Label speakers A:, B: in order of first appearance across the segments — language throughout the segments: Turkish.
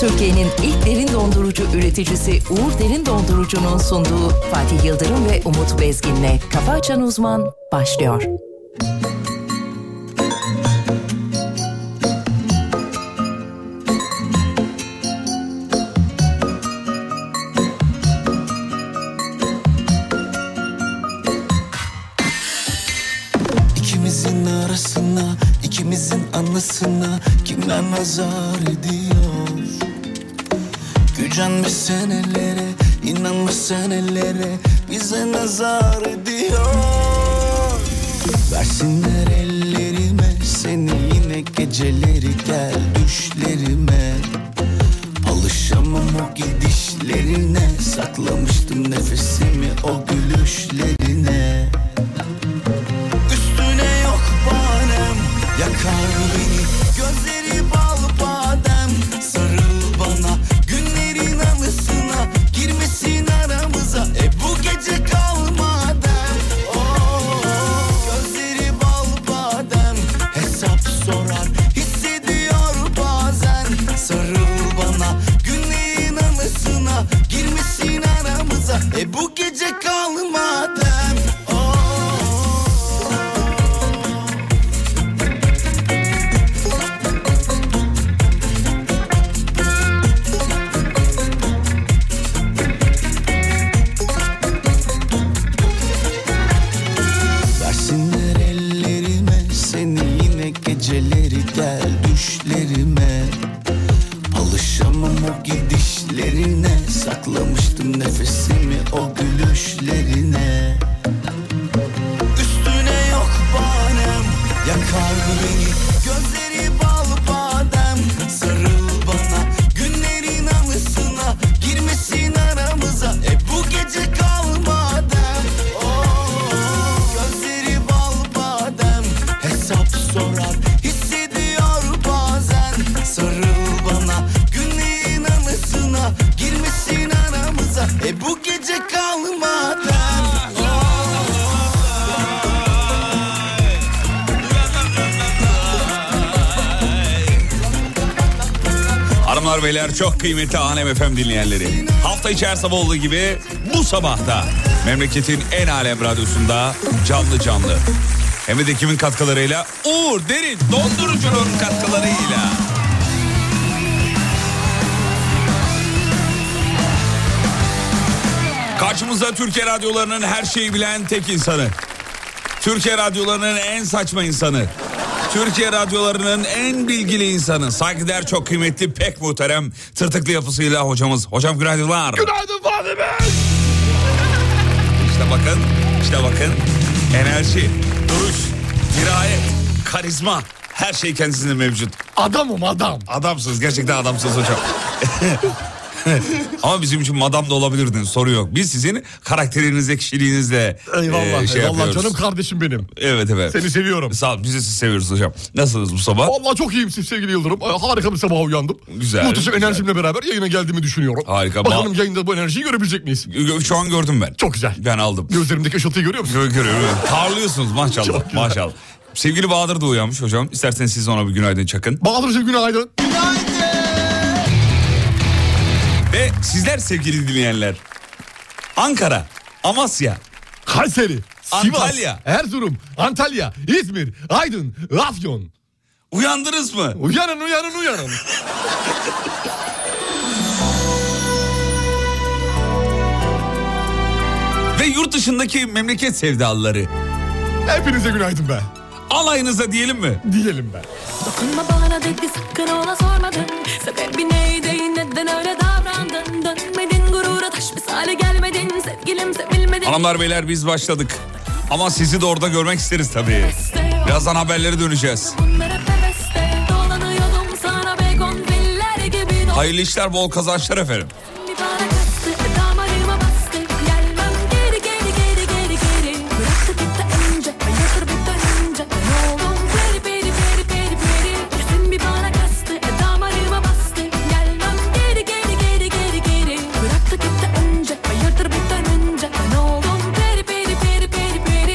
A: Türkiye'nin ilk derin dondurucu üreticisi Uğur Derin Dondurucu'nun sunduğu Fatih Yıldırım ve Umut Bezgin'le Kafa Açan Uzman başlıyor.
B: İkimizin arasına, ikimizin anısına kimler nazar ediyor? Gücenme senelere, inanma senelere bize nazar ediyor. Versinler ellerime seni yine geceleri gel düşlerime. Alışamam o gidişlerine, saklamıştım nefesimi o gülüşlerine. Üstüne yok banem Yakar beni Gözleri bal badem Sarıl bana Günlerin anısına Girmesin aramıza E bu gece kal madem Oh, Gözleri bal badem Hesap sorar Hissediyor bazen Sarıl bana Günlerin anısına Girmesin aramıza E bu gece kal madem Oh. Versinler ellerime seni yine geceleri gel düşlerime Alışamam o gidişlerine saklamıştım nefesimi o gülüşlerine Üstüne yok bahanem yakar beni Gözleri bal badem sarıl bana Günlerin anısına girmesin aramıza E bu gece kal madem Oh, Gözleri bal badem hesap sorar Hissediyor bazen sarıl bana Günlerin anısına girmesin aramıza E bu gece kal madem
C: Hanımlar beyler çok kıymetli Hanem FM dinleyenleri. Hafta içi her sabah olduğu gibi bu sabah da memleketin en alem radyosunda canlı canlı. Hem de kimin katkılarıyla? Uğur Derin Dondurucu'nun katkılarıyla. Karşımızda Türkiye radyolarının her şeyi bilen tek insanı. Türkiye radyolarının en saçma insanı. Türkiye radyolarının en bilgili insanı. Saygıdeğer çok kıymetli pek muhterem tırtıklı yapısıyla hocamız. Hocam günaydınlar.
D: Günaydın Fatih Bey.
C: İşte bakın, işte bakın. Enerji, duruş, dirayet, karizma. Her şey kendisinde mevcut.
D: Adamım adam.
C: Adamsınız, gerçekten adamsınız hocam. Ama bizim için madam da olabilirdiniz, soru yok. Biz sizin karakterinizle, kişiliğinizle
D: Eyvallah.
C: e, şey
D: eyvallah
C: yapıyoruz.
D: canım kardeşim benim.
C: Evet evet.
D: Seni seviyorum.
C: Sağ ol, biz de sizi seviyoruz hocam. Nasılsınız bu sabah?
D: Vallahi çok iyiyim sevgili Yıldırım. Ee, Harika bir sabah uyandım.
C: Güzel,
D: Muhteşem
C: güzel.
D: enerjimle beraber yayına geldiğimi düşünüyorum.
C: Harika.
D: Bakalım
C: Ba-
D: yayında bu enerjiyi görebilecek miyiz?
C: Şu an gördüm ben.
D: Çok güzel.
C: Ben aldım.
D: Gözlerimdeki ışıltıyı görüyor musun?
C: Gö- Görüyorum. Parlıyorsunuz
D: Çok
C: maşallah.
D: güzel.
C: Maşallah. Sevgili Bahadır da uyanmış hocam. İsterseniz siz ona bir günaydın çakın.
D: Bahadır'cığım günaydın.
C: Ve sizler sevgili dinleyenler. Ankara, Amasya,
D: Kayseri, Sivas,
C: Antalya.
D: Erzurum, Antalya, İzmir, Aydın, Afyon.
C: uyandınız mı?
D: Uyanın uyanın uyanın.
C: Ve yurt dışındaki memleket sevdalıları.
D: Hepinize günaydın be.
C: Alayınıza diyelim mi?
D: Diyelim be.
E: Dokunma bana dedi sakın ona sormadın Sebebi neydi neden öyle davrandın Dönmedin gurura taş misali gelmedin Sevgilim sevilmedin
C: Hanımlar beyler biz başladık. Ama sizi de orada görmek isteriz tabii. Birazdan haberlere döneceğiz.
E: Bunlara peveste dolanıyordum sana begon filler gibi
C: Hayırlı işler, bol kazançlar efendim.
E: Bir bana kastı damarıma bastı Gelmem geri geri geri geri geri Bıraktı gitti önce ben yatır bir dönünce Ne oldum peri peri peri peri peri Yüzün bir bana kastı damarıma bastı Gelmem geri geri geri geri geri Bıraktı gitti önce ben yatır bir dönünce Ne oldum peri peri peri peri peri e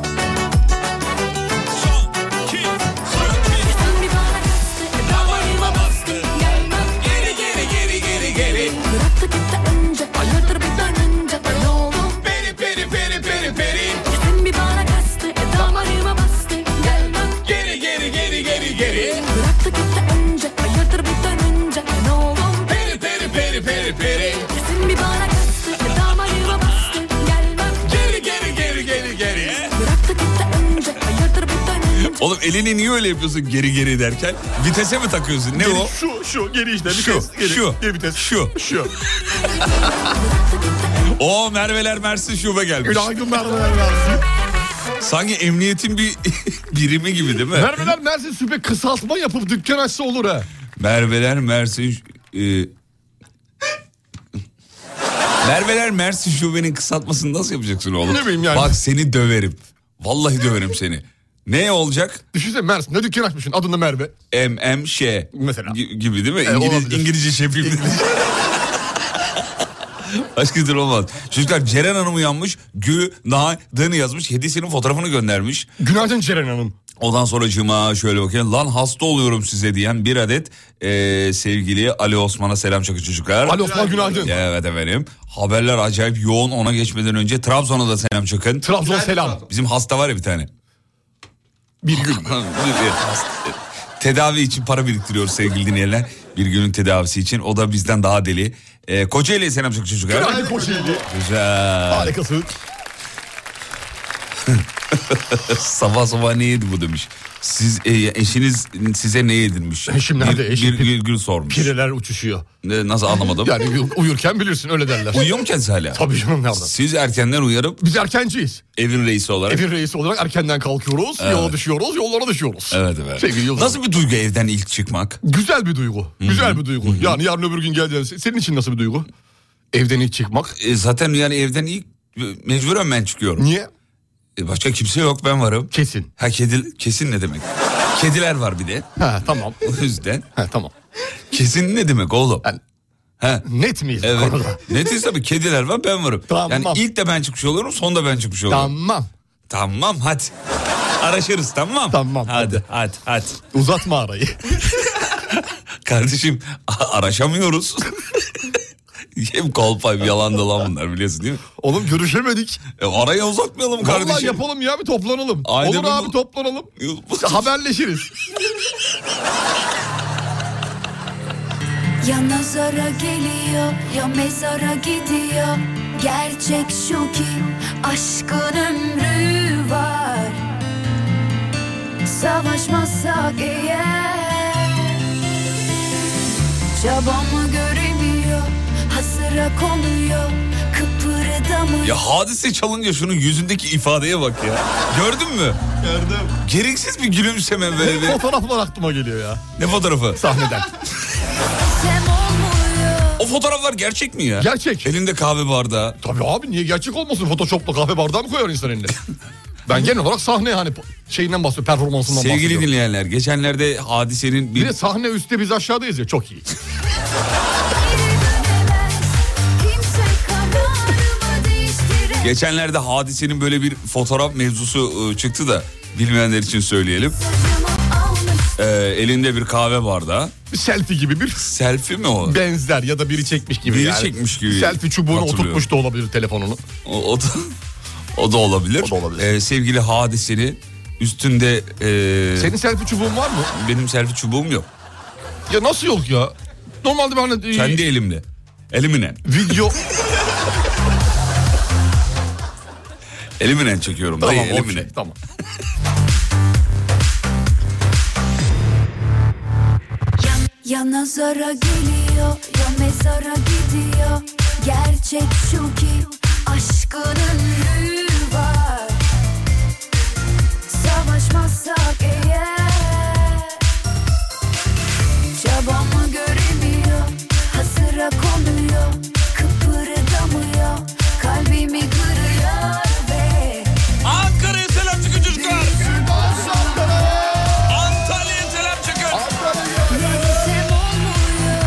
E: e e
C: Oğlum elini niye öyle yapıyorsun geri geri derken? Vitese mi takıyorsun? Ne
F: Geri-
C: o?
F: Şu şu geri işte.
C: Şu,
F: vites, geri,
C: şu,
F: geri vites.
C: şu.
F: Şu.
C: O Merveler Mersin şube gelmiş.
F: Günaydın mermeler versin.
C: Sanki emniyetin bir birimi gibi değil mi?
D: Merveler Mersin Süpe kısaltma yapıp dükkan açsa olur ha.
C: Merveler Mersin e, Merveler Mersin şubenin kısaltmasını nasıl yapacaksın oğlum?
D: Ne bileyim yani.
C: Bak seni döverim. Vallahi döverim seni. Ne olacak?
D: Düşünsene Mersin'de dükkan açmışsın adında Merve.
C: MM şey
D: Mesela. E,
C: gi- gibi değil mi? İngiliz,
D: olabilir.
C: İngilizce şey şefim. Başka türlü olmaz. Çocuklar Ceren Hanım uyanmış. Günaydın yazmış. Hediyesinin fotoğrafını göndermiş.
D: Günaydın Ceren Hanım.
C: Ondan sonra cuma şöyle bakayım. Lan hasta oluyorum size diyen bir adet e, sevgili Ali Osman'a selam çakı çocuklar.
D: Ali Osman günaydın.
C: Evet efendim. Haberler acayip yoğun ona geçmeden önce Trabzon'a da selam çakın.
D: Trabzon selam.
C: Bizim hasta var ya bir tane.
D: Bir gün.
C: Bir- bir hasta. Tedavi için para biriktiriyoruz sevgili dinleyenler. Bir günün tedavisi için. O da bizden daha deli. E, Kocaeli'ye selam çakın çocuklar.
D: Günaydın Kocaeli.
C: Güzel.
D: Harikasın.
C: Sabah sabah ne yedi bu demiş. Siz e, eşiniz size ne yedirmiş?
D: Eşim nerede?
C: Bir,
D: Eşim-
C: bir- bir gün sormuş.
D: Pireler uçuşuyor.
C: Ne- Nasıl anlamadım?
D: Yani uy- uyurken bilirsin öyle derler.
C: Uyuyor mu kendisi hala?
D: Tabii canım nereden?
C: Siz erkenden uyarıp
D: Biz erkenciyiz.
C: evin reisi olarak.
D: Evin reisi olarak erkenden kalkıyoruz, yola düşüyoruz, yollara düşüyoruz.
C: Evet evet.
D: Sevgili Yıldız.
C: Nasıl bir duygu evden ilk çıkmak?
D: Güzel bir duygu. Güzel bir duygu. Yani yarın öbür gün geleceğiz. Senin için nasıl bir duygu? Evden hiç çıkmak.
C: E, zaten yani evden ilk mecburen ben çıkıyorum.
D: Niye?
C: E, başka kimse yok ben varım.
D: Kesin.
C: Ha kedi kesin ne demek? Kediler var bir de.
D: Ha tamam.
C: O yüzden
D: Ha tamam.
C: kesin ne demek oğlum?
D: Yani-
C: Ha.
D: Net miyiz bu
C: Evet.
D: konuda?
C: Netiz tabii kediler var ben varım.
D: Tamam.
C: Yani ilk de ben çıkmış oluyorum son da ben çıkmış oluyorum.
D: Tamam.
C: Tamam hadi. Araşırız tamam.
D: Tamam,
C: Hadi hadi hadi.
D: Uzatma arayı.
C: Kardeşim a- araşamıyoruz. Hem kolpa hem yalan dolan bunlar biliyorsun değil mi?
D: Oğlum görüşemedik.
C: E, araya uzatmayalım kardeşim.
D: Vallahi yapalım ya bir toplanalım.
C: Aynen
D: Olur
C: bu-
D: abi toplanalım. Haberleşiriz.
G: Ya nazara geliyor ya mezara gidiyor Gerçek şu ki aşkın ömrü var Savaşmazsak eğer Çabamı göremiyor hasıra konuyor Kıpırdamıyor
C: Ya hadise çalınca şunun yüzündeki ifadeye bak ya. Gördün mü?
F: Gördüm.
C: Gereksiz bir gülümseme böyle bir.
D: Fotoğraflar aklıma geliyor ya.
C: Ne fotoğrafı?
D: Sahneden.
G: Sem olmuyor
C: O fotoğraflar gerçek mi ya?
D: Gerçek.
C: Elinde kahve bardağı.
D: Tabii abi niye gerçek olmasın? Photoshop'la kahve bardağı mı koyar insan eline? ben genel olarak sahne yani şeyinden bahsediyorum, performansından
C: Sevgili
D: bahsediyorum.
C: dinleyenler geçenlerde hadisenin
D: Bir
C: bir...
D: de sahne üstte biz aşağıdayız ya çok iyi.
G: Geri dönemez kimse kararımı değiştiremez
C: Geçenlerde hadisenin böyle bir fotoğraf mevzusu e, çıktı da bilmeyenler için söyleyelim.
G: Acımı almış
C: Ee, elinde bir kahve bardağı.
D: Bir selfie gibi bir
C: Selfie mi o?
D: benzer ya da biri çekmiş gibi
C: Biri
D: yani.
C: çekmiş gibi
D: Selfie çubuğuna
C: hatırlıyorum.
D: oturtmuş da olabilir telefonunu.
C: O, o da, o da olabilir.
D: O da olabilir.
C: Ee, sevgili hadiseni üstünde e,
D: Senin selfie çubuğun var mı?
C: benim selfie çubuğum yok.
D: Ya nasıl yok ya? Normalde ben hani...
C: Kendi elimle. Eliminen.
D: Video...
C: Eliminen çekiyorum.
D: tamam,
C: dayı,
D: okey,
C: eliminen.
D: tamam.
G: Ya nazara geliyor ya mezara gidiyor Gerçek şu ki aşkın ömrü var Savaşmazsak eğer Çabamı göremiyor hasıra konuyor Kıpırdamıyor kalbimi kırıyor ve
C: Ankara'ya selam çıkın çocuklar. Antalya'ya selam çıkın.
G: Nefesim olmuyor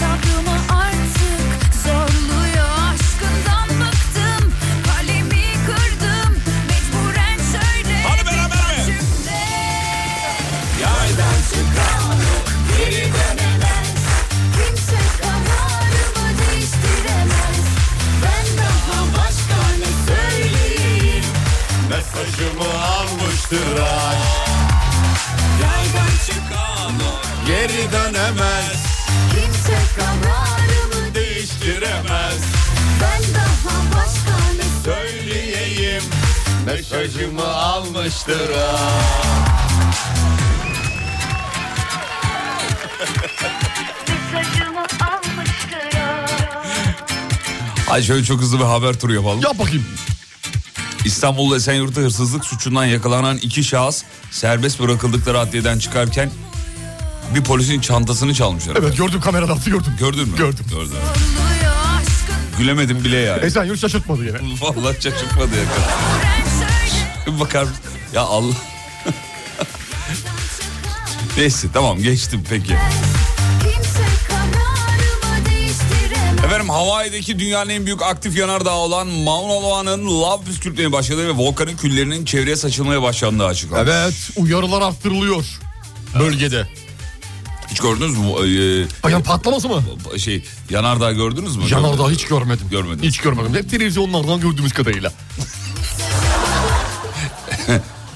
G: Sabrımı artık zorluyor Aşkından bıktım Kalemi kırdım Mecburen söyle
C: Hadi beraber mi?
G: Yaydan çıkan geri dönemez Kimse kararımı değiştiremez Ben daha başka ne söyleyeyim
F: Mesajımı almıştır ay.
C: Yaydan çıkan o.
F: Geri dönemez.
G: Kimse kararımı
F: Değiştiremez.
G: Ben daha başka ne
F: Söyleyeyim. Mesajımı almıştır ha.
G: Mesajımı almıştır
C: Ay şöyle çok hızlı bir haber turu yapalım.
D: Yap bakayım.
C: İstanbul'da Esenyurt'ta hırsızlık suçundan yakalanan iki şahıs serbest bırakıldıkları adliyeden çıkarken bir polisin çantasını çalmışlar.
D: Evet gördüm kamerada attı gördüm.
C: Gördün mü?
D: Gördüm. E,
C: Gördüm. Gülemedim bile yani.
D: Esen Yurt şaşırtmadı yine.
C: Vallahi şaşırtmadı ya. Bir Bakar mısın? Ya Allah. Neyse tamam geçtim peki.
G: Kimse kararımı değiştiremez
C: Efendim Hawaii'deki dünyanın en büyük aktif yanardağı olan Mauna Loa'nın lav püskürtmeye başladığı ve volkanın küllerinin çevreye saçılmaya başlandığı açıklandı.
D: Evet uyarılar arttırılıyor. Bölgede.
C: Hiç gördünüz mü? bu, e,
D: Bayan patlaması mı?
C: e, şey yanardağ gördünüz mü?
D: Yanardağ hiç görmedim.
C: Görmedim.
D: Hiç görmedim. Hep televizyonlardan gördüğümüz kadarıyla.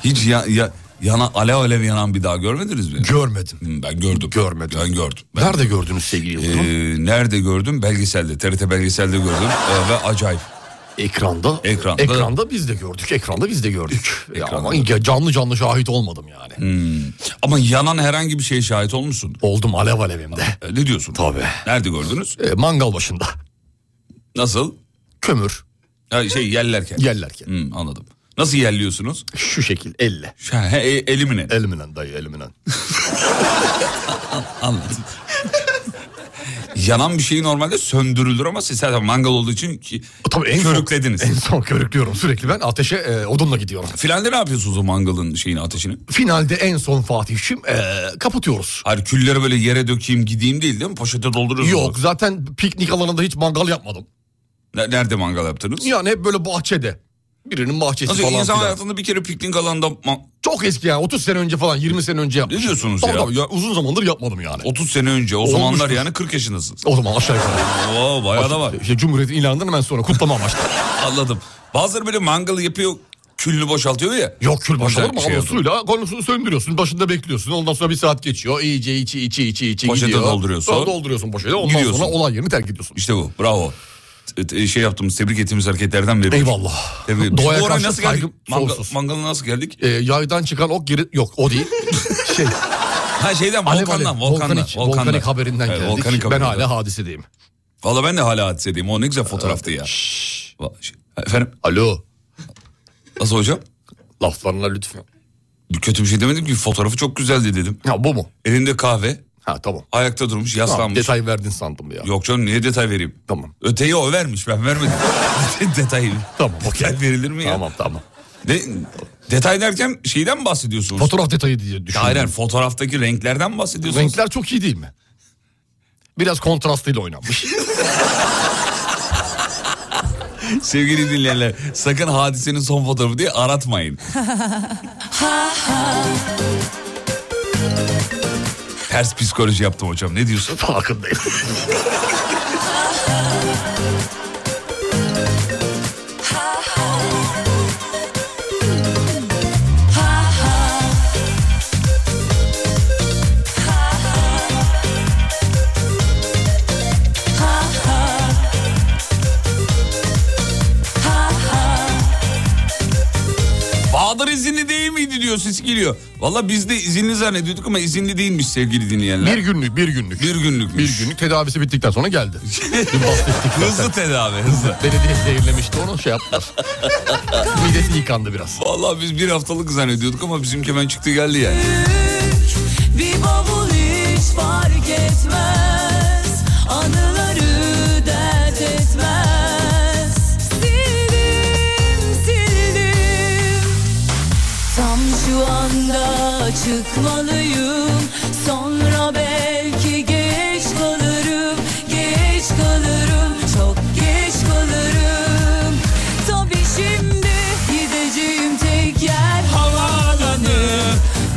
C: Hiç ya, ya, yana, alev alev yanan bir dağ görmediniz mi?
D: Görmedim.
C: Hı, ben gördüm.
D: Görmedim.
C: Ben gördüm. Ben-
D: Nerede gördünüz sevgili Yıldırım?
C: Ee, nerede gördüm? Belgeselde. TRT belgeselde gördüm. Ee, ve acayip.
D: Ee, ekranda.
C: ekranda.
D: Ekranda biz de gördük. Ekranda biz de gördük. Ya
C: Ekranda.
D: ama ya canlı canlı şahit olmadım yani.
C: Ama yanan herhangi bir şeye şahit olmuşsun.
D: Oldum alev alevimde.
C: Ee, ne diyorsun?
D: Tabii.
C: Nerede gördünüz?
D: E, mangal başında.
C: Nasıl?
D: Kömür
C: Ha, şey yellerken.
D: yerlerken.
C: Hmm, anladım. Nasıl yelliyorsunuz?
D: Şu şekil elle.
C: Ş- he, e, elimine.
D: Eliminen dayı eliminen.
C: Anladım. Yanan bir şey normalde söndürülür ama siz zaten mangal olduğu için ki
D: Tabii en
C: körüklediniz.
D: Son, en son körüklüyorum sürekli ben ateşe e, odunla gidiyorum.
C: Finalde ne yapıyorsunuz o mangalın şeyini ateşini?
D: Finalde en son Fatih'im e, kapatıyoruz.
C: Hayır külleri böyle yere dökeyim gideyim değil değil mi? Poşete dolduruyorsunuz.
D: Yok zaten piknik alanında hiç mangal yapmadım.
C: Ne- Nerede mangal yaptınız?
D: Yani hep böyle bahçede. Birinin bahçesi
C: Nasıl
D: falan
C: insan
D: filan.
C: hayatında bir kere piknik alanında ma-
D: Çok eski yani 30 sene önce falan 20 sene önce yaptım.
C: Ne diyorsunuz ya?
D: uzun zamandır yapmadım yani.
C: 30 sene önce o
D: Olmuştur.
C: zamanlar yani 40 yaşındasınız.
D: O zaman aşağı yukarı.
C: Oo, bayağı da var.
D: İşte Cumhuriyet'in ilanından hemen sonra kutlama amaçlı.
C: Anladım. Bazıları böyle mangalı yapıyor külünü boşaltıyor ya.
D: Yok kül başlar
C: Güzel
D: mı?
C: bir şey
D: Ama
C: oldu.
D: suyla konusunu söndürüyorsun. Başında bekliyorsun. Ondan sonra bir saat geçiyor. İyice içi içi içi içi
C: Poşete
D: gidiyor.
C: dolduruyorsun.
D: Sonra dolduruyorsun poşete. Ondan
C: Gidiyorsun.
D: sonra olay yerini terk ediyorsun.
C: İşte bu bravo. T- t- Şey yaptığımız tebrik ettiğimiz hareketlerden biri.
D: Eyvallah.
C: Tebrik- Biz
D: Doğaya
C: bu oraya
D: karşı
C: nasıl geldik?
D: saygım
C: Mangal,
D: sonsuz.
C: mangala nasıl geldik?
D: Ee, yaydan çıkan ok geri... Yok o değil. şey
C: Ha şeyden
D: alev
C: volkandan,
D: alev,
C: volkandan,
D: volkanik, volkanik haberinden
C: Evet,
D: geldik.
C: volkanik
D: ben
C: haberinden.
D: hala hadisedeyim.
C: Valla ben de hala hadisedeyim. O ne güzel fotoğraftı ya. Va- şey- Efendim
D: Alo.
C: nasıl hocam?
D: Laflarına lütfen.
C: Kötü bir şey demedim ki fotoğrafı çok güzeldi dedim.
D: Ya bu mu?
C: Elinde kahve
D: Ha tamam.
C: ayakta durmuş
D: Tamam,
C: yaslanmış.
D: detay verdin sandım ya.
C: Yok canım niye detay vereyim?
D: Tamam.
C: Öteyi o vermiş ben vermedim. Detayı.
D: Tamam okey.
C: Detay verilir mi ya?
D: Tamam tamam.
C: Ne, detay derken şeyden mi bahsediyorsunuz? Şey,
D: Fotoğraf detayı diye düşündüm.
C: Hayır hayır, fotoğraftaki renklerden mi bahsediyorsunuz?
D: Renkler çok iyi değil mi? Biraz kontrastıyla oynanmış.
C: Sevgili dinleyenler sakın hadisenin son fotoğrafı diye aratmayın. Ters psikoloji yaptım hocam ne diyorsun?
D: Farkındayım.
C: Bahadır izinli değil miydi diyor sesi geliyor. Valla biz de izinli zannediyorduk ama izinli değilmiş sevgili dinleyenler.
D: bir günlük, bir günlük.
C: Bir günlükmüş.
D: Bir günlük tedavisi bittikten sonra geldi. Dün bahsettik.
C: Hızlı tedavi hızlı.
D: Belediye zehirlemişti onu şey yaptılar. Midesi yıkandı biraz.
C: Valla biz bir haftalık zannediyorduk ama bizimki hemen çıktı geldi yani.
H: Bir bavul hiç fark etmez Anıları dert etmez Sildim sildim Tam şu anda çıkmalıyım Sonra belki geç kalırım Geç kalırım çok geç kalırım Tabii şimdi gideceğim tek yer Havaalanı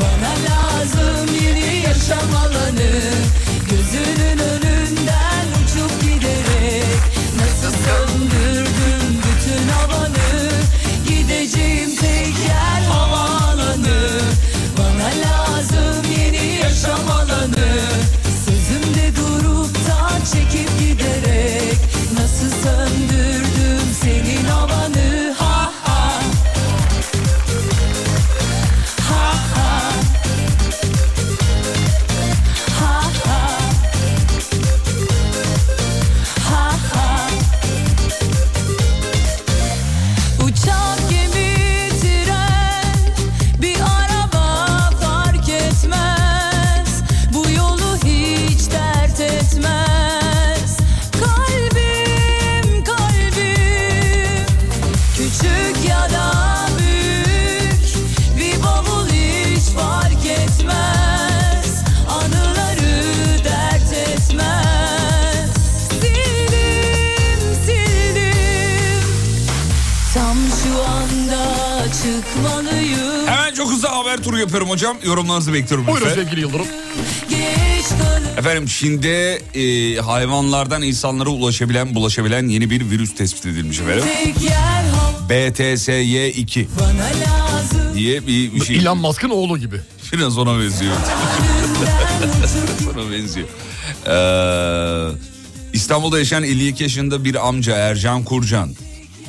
H: Bana lazım yeni yaşam alanı Gözünün önünden uçup giderek Nasıl söndürdüm bütün havanı Gideceğim tek yer havaalanı Bana lazım yeni çıkmalıyım
C: Hemen çok hızlı haber turu yapıyorum hocam. Yorumlarınızı bekliyorum
D: Buyurun
C: lütfen.
D: sevgili Yıldırım.
H: Geç kalı
C: Efendim Çin'de e, hayvanlardan insanlara ulaşabilen, bulaşabilen yeni bir virüs tespit edilmiş efendim.
H: tek yer hava
C: BTSY2
H: bana lazım
C: diye bir, bir şey.
D: Elon Musk'ın oğlu gibi.
C: Biraz ona benziyor. Sana benziyor. Ee, İstanbul'da yaşayan 52 yaşında bir amca Ercan Kurcan.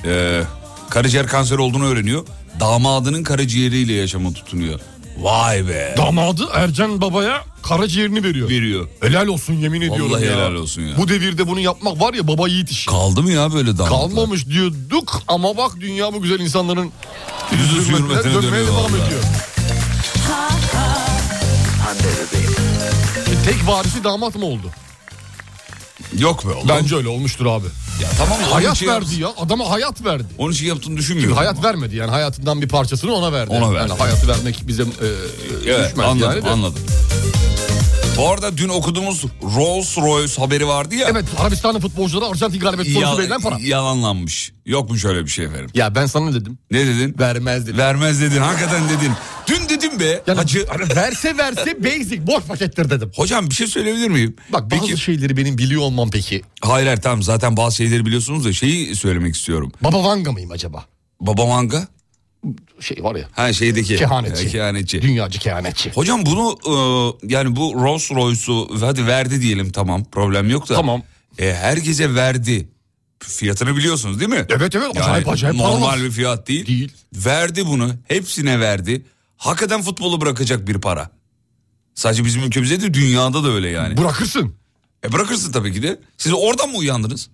C: ee, karaciğer kanseri olduğunu öğreniyor. Damadının karaciğeriyle yaşama tutunuyor. Vay be.
D: Damadı Ercan Baba'ya karaciğerini veriyor.
C: Veriyor.
D: Helal olsun yemin ediyorum ya.
C: helal olsun ya.
D: Bu devirde bunu yapmak var ya baba yiğit işi.
C: Kaldı mı ya böyle damat?
D: Kalmamış diyorduk ama bak dünya bu güzel insanların
C: Yüzü suyun
D: hürmetine
C: metine
D: dönmeye
C: dönüyor
D: devam
C: vallahi.
D: ediyor. E, Tek varisi damat mı oldu?
C: Yok be oğlum.
D: Bence öyle olmuştur abi.
C: Ya tamam da onun
D: Hayat
C: için
D: verdi ya. Adama hayat verdi.
C: Onun için yaptığını düşünmüyorum.
D: hayat
C: ama.
D: vermedi yani hayatından bir parçasını ona verdi.
C: Ona verdi.
D: Yani hayatı vermek bize e,
C: Evet,
D: düşmez
C: anladım,
D: yani. de.
C: anladım. Bu arada dün okuduğumuz Rolls Royce haberi vardı ya.
D: Evet Arabistanlı futbolculara Arjantin galibiyeti sonucu
C: Yal-
D: verilen para.
C: Yalanlanmış. Yok mu şöyle bir şey efendim?
D: Ya ben sana ne dedim?
C: Ne dedin?
D: Vermez dedim.
C: Vermez dedin. Hakikaten dedin. Dün dedim be.
D: Yani
C: Hacı.
D: hani verse verse basic boş pakettir dedim.
C: Hocam bir şey söyleyebilir miyim?
D: Bak bazı
C: Peki,
D: şeyleri benim biliyor olmam peki.
C: hayır hayır tamam zaten bazı şeyleri biliyorsunuz da şeyi söylemek istiyorum.
D: Baba Vanga mıyım acaba?
C: Baba manga.
D: Şey var ya.
C: Ha şeydeki.
D: Kehanetçi.
C: Ha, kehanetçi.
D: Dünyacı kehanetçi.
C: Hocam bunu e, yani bu Rolls Royce'u hadi verdi diyelim tamam problem yok da.
D: Tamam.
C: E, herkese verdi. Fiyatını biliyorsunuz değil mi?
D: Evet, evet. Acayip, acayip paralar.
C: Normal bir fiyat değil.
D: Değil.
C: Verdi bunu. Hepsine verdi. Hakikaten futbolu bırakacak bir para. Sadece bizim ülkemizde değil dünyada da öyle yani.
D: Bırakırsın.
C: E bırakırsın tabii ki de. Siz oradan mı uyandınız?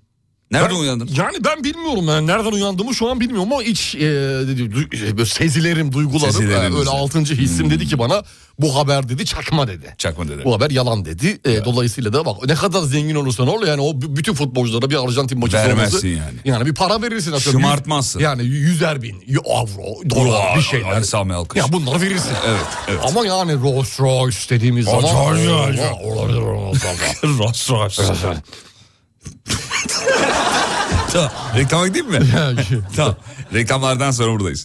C: Nereden uyandınız?
D: Yani ben bilmiyorum yani nereden uyandığımı şu an bilmiyorum ama iç e, du- e, böyle sezilerim, duygularım
C: Sezileriniz.
D: e, öyle altıncı hissim dedi ki bana bu haber dedi çakma dedi.
C: Çakma dede.
D: Bu haber yalan dedi. E, Dolayısıyla da bak ne kadar zengin olursan ol yani o b- bütün futbolculara bir Arjantin maçı
C: Vermezsin
D: sonrası-
C: yani.
D: Yani bir para verirsin. atıyorum.
C: Şımartmazsın.
D: Yüz- Yani yüzer bin, y- avro, dolar
C: Dolar,
D: bir şeyler.
C: yani Sami Alkış.
D: Ya bunları verirsin.
C: Evet, evet.
D: Ama yani Rolls Royce dediğimiz zaman.
C: Acayip, acayip.
D: Ola- Olabilir Rolls Royce.
C: Rolls Royce. Tamam, Reklama gideyim mi? tamam. Reklamlardan sonra buradayız.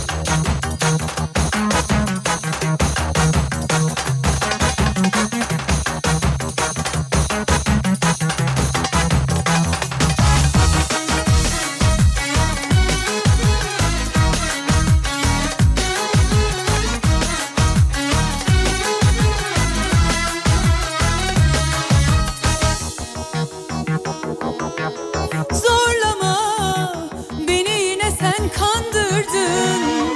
H: Zorlama beni yine sen kandırdın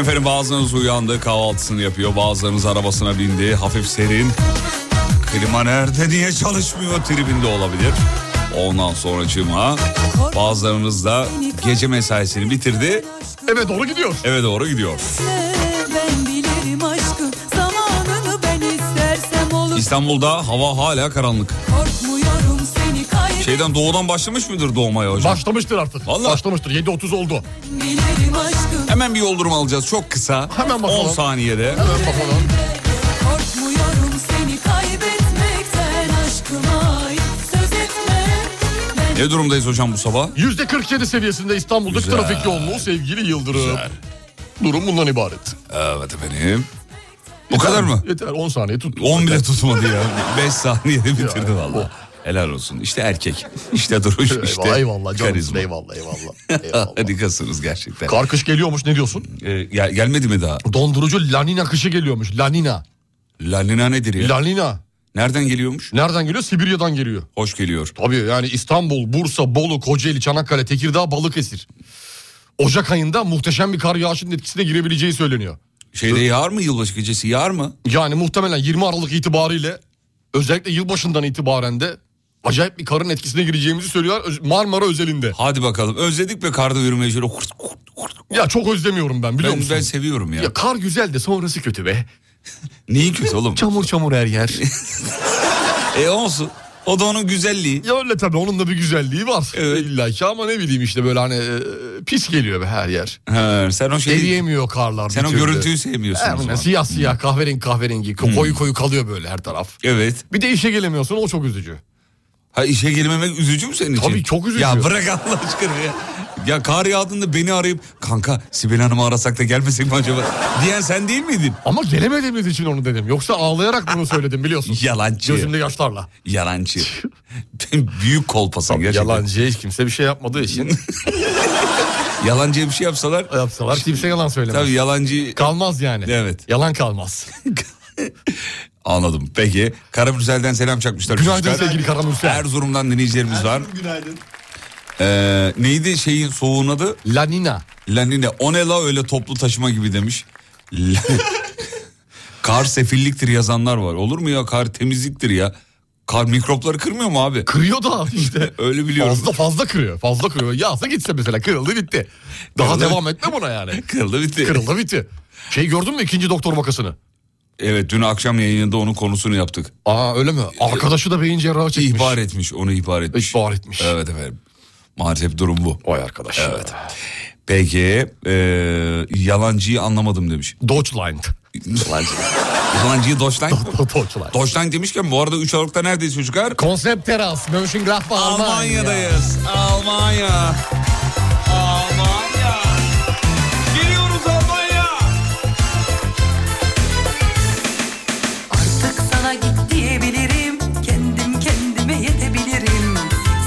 C: efendim bazılarınız uyandı kahvaltısını yapıyor. Bazılarınız arabasına bindi hafif serin. Klima nerede niye çalışmıyor tribinde olabilir. Ondan sonra cuma bazılarınız da gece mesaisini bitirdi
D: Eve doğru gidiyor.
C: eve doğru gidiyor.
H: Ben bilirim aşkı zamanını ben istersem olur.
C: İstanbul'da hava hala karanlık.
H: Korkmuyorum seni kaybet.
C: Şeyden doğudan başlamış mıdır doğmaya hocam?
D: Başlamıştır artık.
C: Vallahi.
D: Başlamıştır. 7.30 oldu.
H: Bilirim aşkı
C: Hemen bir yoldurum alacağız çok kısa.
D: Hemen bakalım.
C: 10 saniyede.
D: Hemen bakalım.
H: korkmuyorum seni kaybetmekten aşkıma söz etme. Ben
C: Ne durumdayız hocam bu sabah?
D: %47 seviyesinde İstanbul'da
C: Güzel.
D: trafik yoğunluğu sevgili Yıldırım. Durum bundan ibaret.
C: Evet efendim. Bu kadar mı?
D: Yeter 10 saniye tut.
C: 10 bile tutmadı ya. 5 saniyede bitirdi
D: Ya,
C: valla. Helal olsun. İşte erkek. İşte duruş.
D: Eyvallah,
C: işte
D: eyvallah canım.
C: karizma.
D: Eyvallah eyvallah. eyvallah.
C: Harikasınız gerçekten.
D: Kar kış geliyormuş ne diyorsun?
C: Ee, gel- gelmedi mi daha?
D: Dondurucu lanina kışı geliyormuş. Lanina.
C: Lanina nedir ya?
D: Lanina.
C: Nereden geliyormuş?
D: Nereden geliyor? Sibirya'dan geliyor.
C: Hoş geliyor.
D: Tabii yani İstanbul, Bursa, Bolu, Kocaeli, Çanakkale, Tekirdağ, Balıkesir. Ocak ayında muhteşem bir kar yağışının etkisine girebileceği söyleniyor.
C: Şeyde yağar mı yılbaşı gecesi yağar mı?
D: Yani muhtemelen 20 Aralık itibariyle özellikle yılbaşından itibaren de acayip bir karın etkisine gireceğimizi söylüyorlar Öz- Marmara özelinde.
C: Hadi bakalım. Özledik be karda yürümeyi şöyle. Kurt, kurt, kurt.
D: Ya çok özlemiyorum ben biliyor
C: Ben,
D: musun?
C: ben seviyorum ya.
D: Ya kar güzel de sonrası kötü be.
C: Neyin kötü oğlum?
D: Çamur çamur her yer.
C: E olsun. O da onun güzelliği.
D: ya öyle tabii onun da bir güzelliği var.
C: Evet.
D: İlla ki ama ne bileyim işte böyle hani e, pis geliyor be her yer.
C: He, sen o şeyi...
D: Eriyemiyor karlar
C: Sen
D: bir
C: o
D: türlü.
C: görüntüyü sevmiyorsun
D: He,
C: o zaman. Hmm.
D: Siyah siyah kahverengi kahverengi koyu koyu kalıyor böyle her taraf.
C: Evet.
D: Bir de işe gelemiyorsun o çok üzücü.
C: Ha işe girmemek üzücü mü senin için?
D: Tabii, çok üzücü.
C: Ya bırak Allah aşkına ya. Ya kar yağdığında beni arayıp kanka Sibel Hanım'ı arasak da gelmesek mi acaba diyen sen değil miydin?
D: Ama gelemediğimiz için onu dedim. Yoksa ağlayarak bunu söyledim biliyorsun.
C: Yalancı.
D: Gözümde yaşlarla.
C: Yalancı. Büyük kolpasın gerçekten.
D: Yalancı hiç kimse bir şey yapmadığı için
C: Yalancıya bir şey yapsalar.
D: yapsalar kimse yalan söylemez.
C: Tabii yalancı.
D: Kalmaz yani.
C: Evet.
D: Yalan kalmaz.
C: Anladım. Peki. Karamürsel'den selam çakmışlar.
D: Günaydın
C: çocuklar.
D: sevgili Karamürsel.
C: er- Erzurum'dan dinleyicilerimiz var.
F: Günaydın.
C: Ee, neydi şeyin soğuğun adı?
D: Lanina.
C: Lanine. O ne la öyle toplu taşıma gibi demiş. La- kar sefilliktir yazanlar var. Olur mu ya kar temizliktir ya. Kar mikropları kırmıyor mu abi?
D: Kırıyor da işte.
C: Öyle biliyorum.
D: fazla fazla kırıyor. Fazla kırıyor. Yağsa gitse mesela kırıldı bitti. Daha
C: Kırıldı.
D: devam etme buna yani.
C: Kırıldı bitti.
D: Kırıldı bitti. Şey gördün mü ikinci doktor makasını?
C: Evet dün akşam yayınında onun konusunu yaptık.
D: Aa öyle mi? Arkadaşı da beyin cerrahı çekmiş.
C: İhbar etmiş onu ihbar etmiş.
D: İhbar etmiş.
C: Evet efendim. Maalesef durum bu.
D: Vay arkadaş. Evet.
C: Peki e, yalancıyı anlamadım demiş.
D: Deutschland.
C: Yalancı. Yalancıyı Doşlan.
D: Deutschland.
C: Doşlan demişken bu arada 3 Aralık'ta neredeyiz çocuklar?
D: Konsept teras. Mönchengladbach
C: Almanya'dayız. Almanya. Almanya. Geliyoruz Almanya.
H: Artık sana git diyebilirim Kendim kendime yetebilirim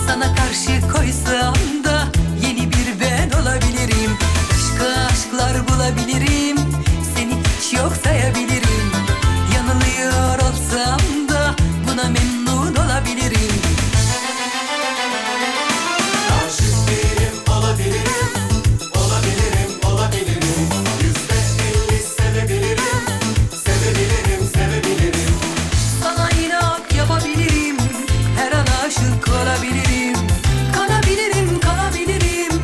H: Sana karşı koysam da Yeni bir ben olabilirim Aşka aşklar bulabilirim Seni hiç yok sayabilirim Yanılıyor olsam da Buna memnun olabilirim Sana inat yapabilirim Her an aşık olabilirim Kanabilirim, kanabilirim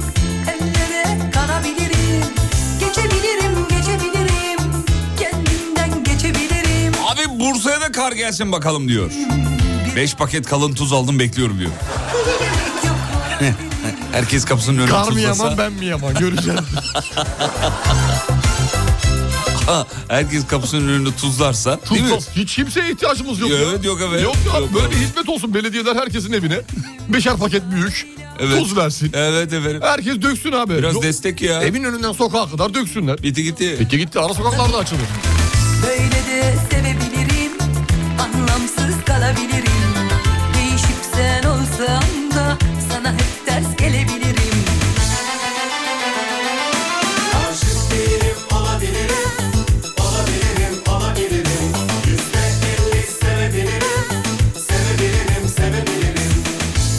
H: Ellere kanabilirim Geçebilirim, geçebilirim Kendimden geçebilirim
C: Abi Bursa'ya da kar gelsin bakalım diyor. 5 paket kalın tuz aldım bekliyorum diyor.
H: Yok
C: Herkes kapısının önüne
D: Kar mı
C: tuzlasa.
D: yaman ben mi yaman göreceğiz.
C: Ha, herkes kapısının önünde tuzlarsa. Değil mi?
D: Tuzla- Hiç kimseye ihtiyacımız yok.
C: Evet,
D: ya.
C: yok evet.
D: Yok ya,
C: Yok,
D: böyle
C: evet.
D: bir hizmet olsun belediyeden herkesin evine. Beşer paket büyük.
C: Evet.
D: Tuz versin.
C: Evet efendim.
D: Herkes döksün abi.
C: Biraz
D: Yok-
C: destek ya.
D: Evin önünden sokağa kadar döksünler.
C: Bitti gitti.
D: Peki gitti ara sokaklarda açılır.
H: Böyle de sevebilirim Anlamsız kalabilirim Değişip sen olsam da Sana hep ters gelebilirim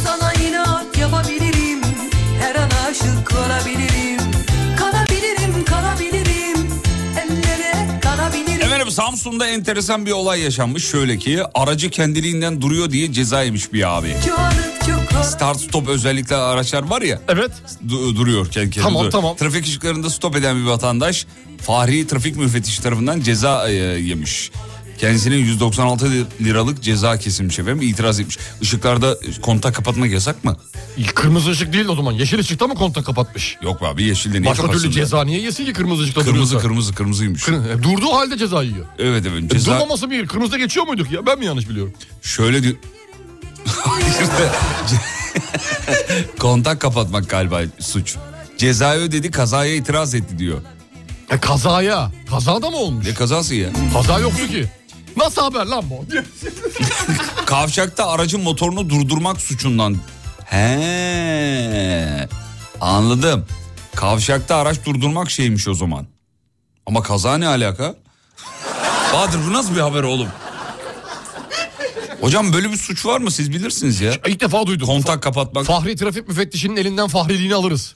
H: Sana inat yapabilirim Her an aşık olabilirim Kalabilirim, kalabilirim
C: Samsun'da enteresan bir olay yaşanmış. Şöyle ki aracı kendiliğinden duruyor diye ceza yemiş bir abi. Start stop özellikle araçlar var ya.
D: Evet.
C: duruyor kendi kendine.
D: Tamam,
C: duruyor.
D: tamam.
C: Trafik ışıklarında stop eden bir vatandaş Fahri Trafik Müfettişi tarafından ceza e, yemiş. Kendisine 196 liralık ceza kesilmiş efendim itiraz etmiş. Işıklarda e, kontak kapatmak yasak mı?
D: Kırmızı ışık değil o zaman. Yeşil ışıkta mı kontak kapatmış?
C: Yok be abi yeşilde niye
D: Başka
C: kapatsın
D: türlü
C: be?
D: ceza niye yesin ki kırmızı ışıkta
C: Kırmızı
D: duruyorsa?
C: kırmızı kırmızıymış.
D: Kır- e, Durduğu halde ceza yiyor.
C: Evet efendim
D: E,
C: ceza
D: Durmaması bir kırmızıda geçiyor muyduk ya? Ben mi yanlış biliyorum?
C: şöyle diyor. kontak kapatmak galiba suç. Cezayı ödedi kazaya itiraz etti diyor.
D: E kazaya. Kazada mı olmuş?
C: Ne kazası ya?
D: Kaza yoktu ki. Nasıl haber lan bu?
C: Kavşakta aracın motorunu durdurmak suçundan. He. Anladım. Kavşakta araç durdurmak şeymiş o zaman. Ama kaza ne alaka? Bahadır bu nasıl bir haber oğlum? Hocam böyle bir suç var mı siz bilirsiniz ya.
D: İlk defa duydum.
C: Kontak kapatmak.
D: Fahri trafik müfettişinin elinden fahriliğini alırız.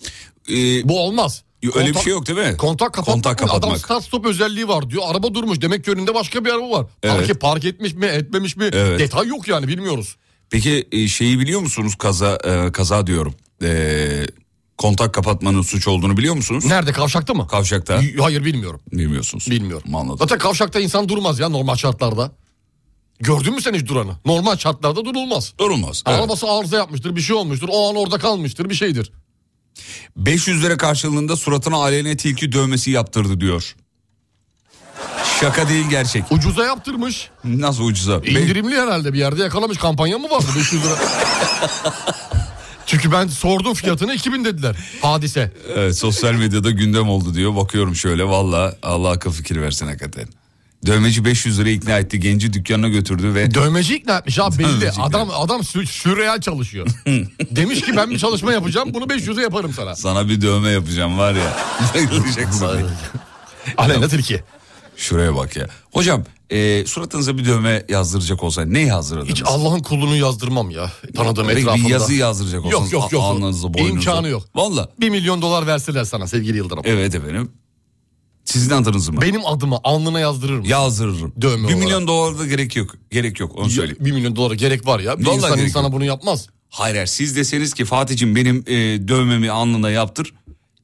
C: Ee,
D: Bu olmaz.
C: öyle bir şey yok değil mi?
D: Kontak kapatmak.
C: Kontak
D: mı? Adam
C: kapatmak.
D: start stop özelliği var diyor. Araba durmuş. Demek ki önünde başka bir araba var.
C: Evet.
D: Park, park etmiş mi etmemiş mi?
C: Evet.
D: Detay yok yani bilmiyoruz.
C: Peki e, şeyi biliyor musunuz kaza e, kaza diyorum. Ee, kontak kapatmanın suç olduğunu biliyor musunuz?
D: Nerede kavşakta mı?
C: Kavşakta
D: Y- Hayır bilmiyorum.
C: bilmiyorsunuz.
D: Bilmiyorum.
C: Anladım.
D: Zaten kavşakta insan durmaz ya normal şartlarda. Gördün mü sen hiç duranı? Normal şartlarda durulmaz.
C: Durulmaz. evet.
D: Arabası arıza yapmıştır, bir şey olmuştur. O an orada kalmıştır, bir şeydir.
C: 500 lira karşılığında suratına alene tilki dövmesi yaptırdı diyor. Şaka değil gerçek.
D: Ucuza yaptırmış.
C: Nasıl ucuza? Be-
D: İndirimli herhalde bir yerde yakalamış. Kampanya mı vardı 500 lira? Çünkü ben sordum fiyatını 2000 dediler. Hadise.
C: Evet, sosyal medyada gündem oldu diyor. Bakıyorum şöyle valla Allah akıl fikir versin hakikaten. Dövmeci 500 lira ikna etti. Genci dükkanına götürdü ve
D: Dövmeci ikna etmiş abi
C: Dövmeci
D: belli.
C: ikna
D: Adam adam sü- sürreal çalışıyor. Demiş ki ben bir çalışma yapacağım. Bunu 500'e yaparım sana.
C: sana bir dövme yapacağım var ya. Bayılacaksın.
D: Aleyna Tilki.
C: Şuraya bak ya. Hocam e, suratınıza bir dövme yazdıracak olsa neyi yazdırırdınız?
D: Hiç Allah'ın kulunu yazdırmam ya. Tanıdığım
C: Peki
D: etrafımda.
C: bir yazı yazdıracak
D: Yok,
C: olsanız.
D: yok, yok.
C: a- Alnınıza boynunuza.
D: İmkanı yok.
C: Valla.
D: 1 milyon dolar verseler sana sevgili Yıldırım.
C: Evet efendim. Sizin adınızı mı?
D: Benim adımı alnına yazdırırım.
C: Yazdırırım.
D: Dövme
C: bir
D: olarak.
C: milyon dolar da gerek yok. Gerek yok onu söyleyeyim.
D: 1 milyon dolara gerek var ya. Bir
C: Vallahi
D: insan
C: gerek
D: insana
C: yok.
D: bunu yapmaz.
C: Hayır hayır siz deseniz ki Fatih'cim benim e, dövmemi alnına yaptır.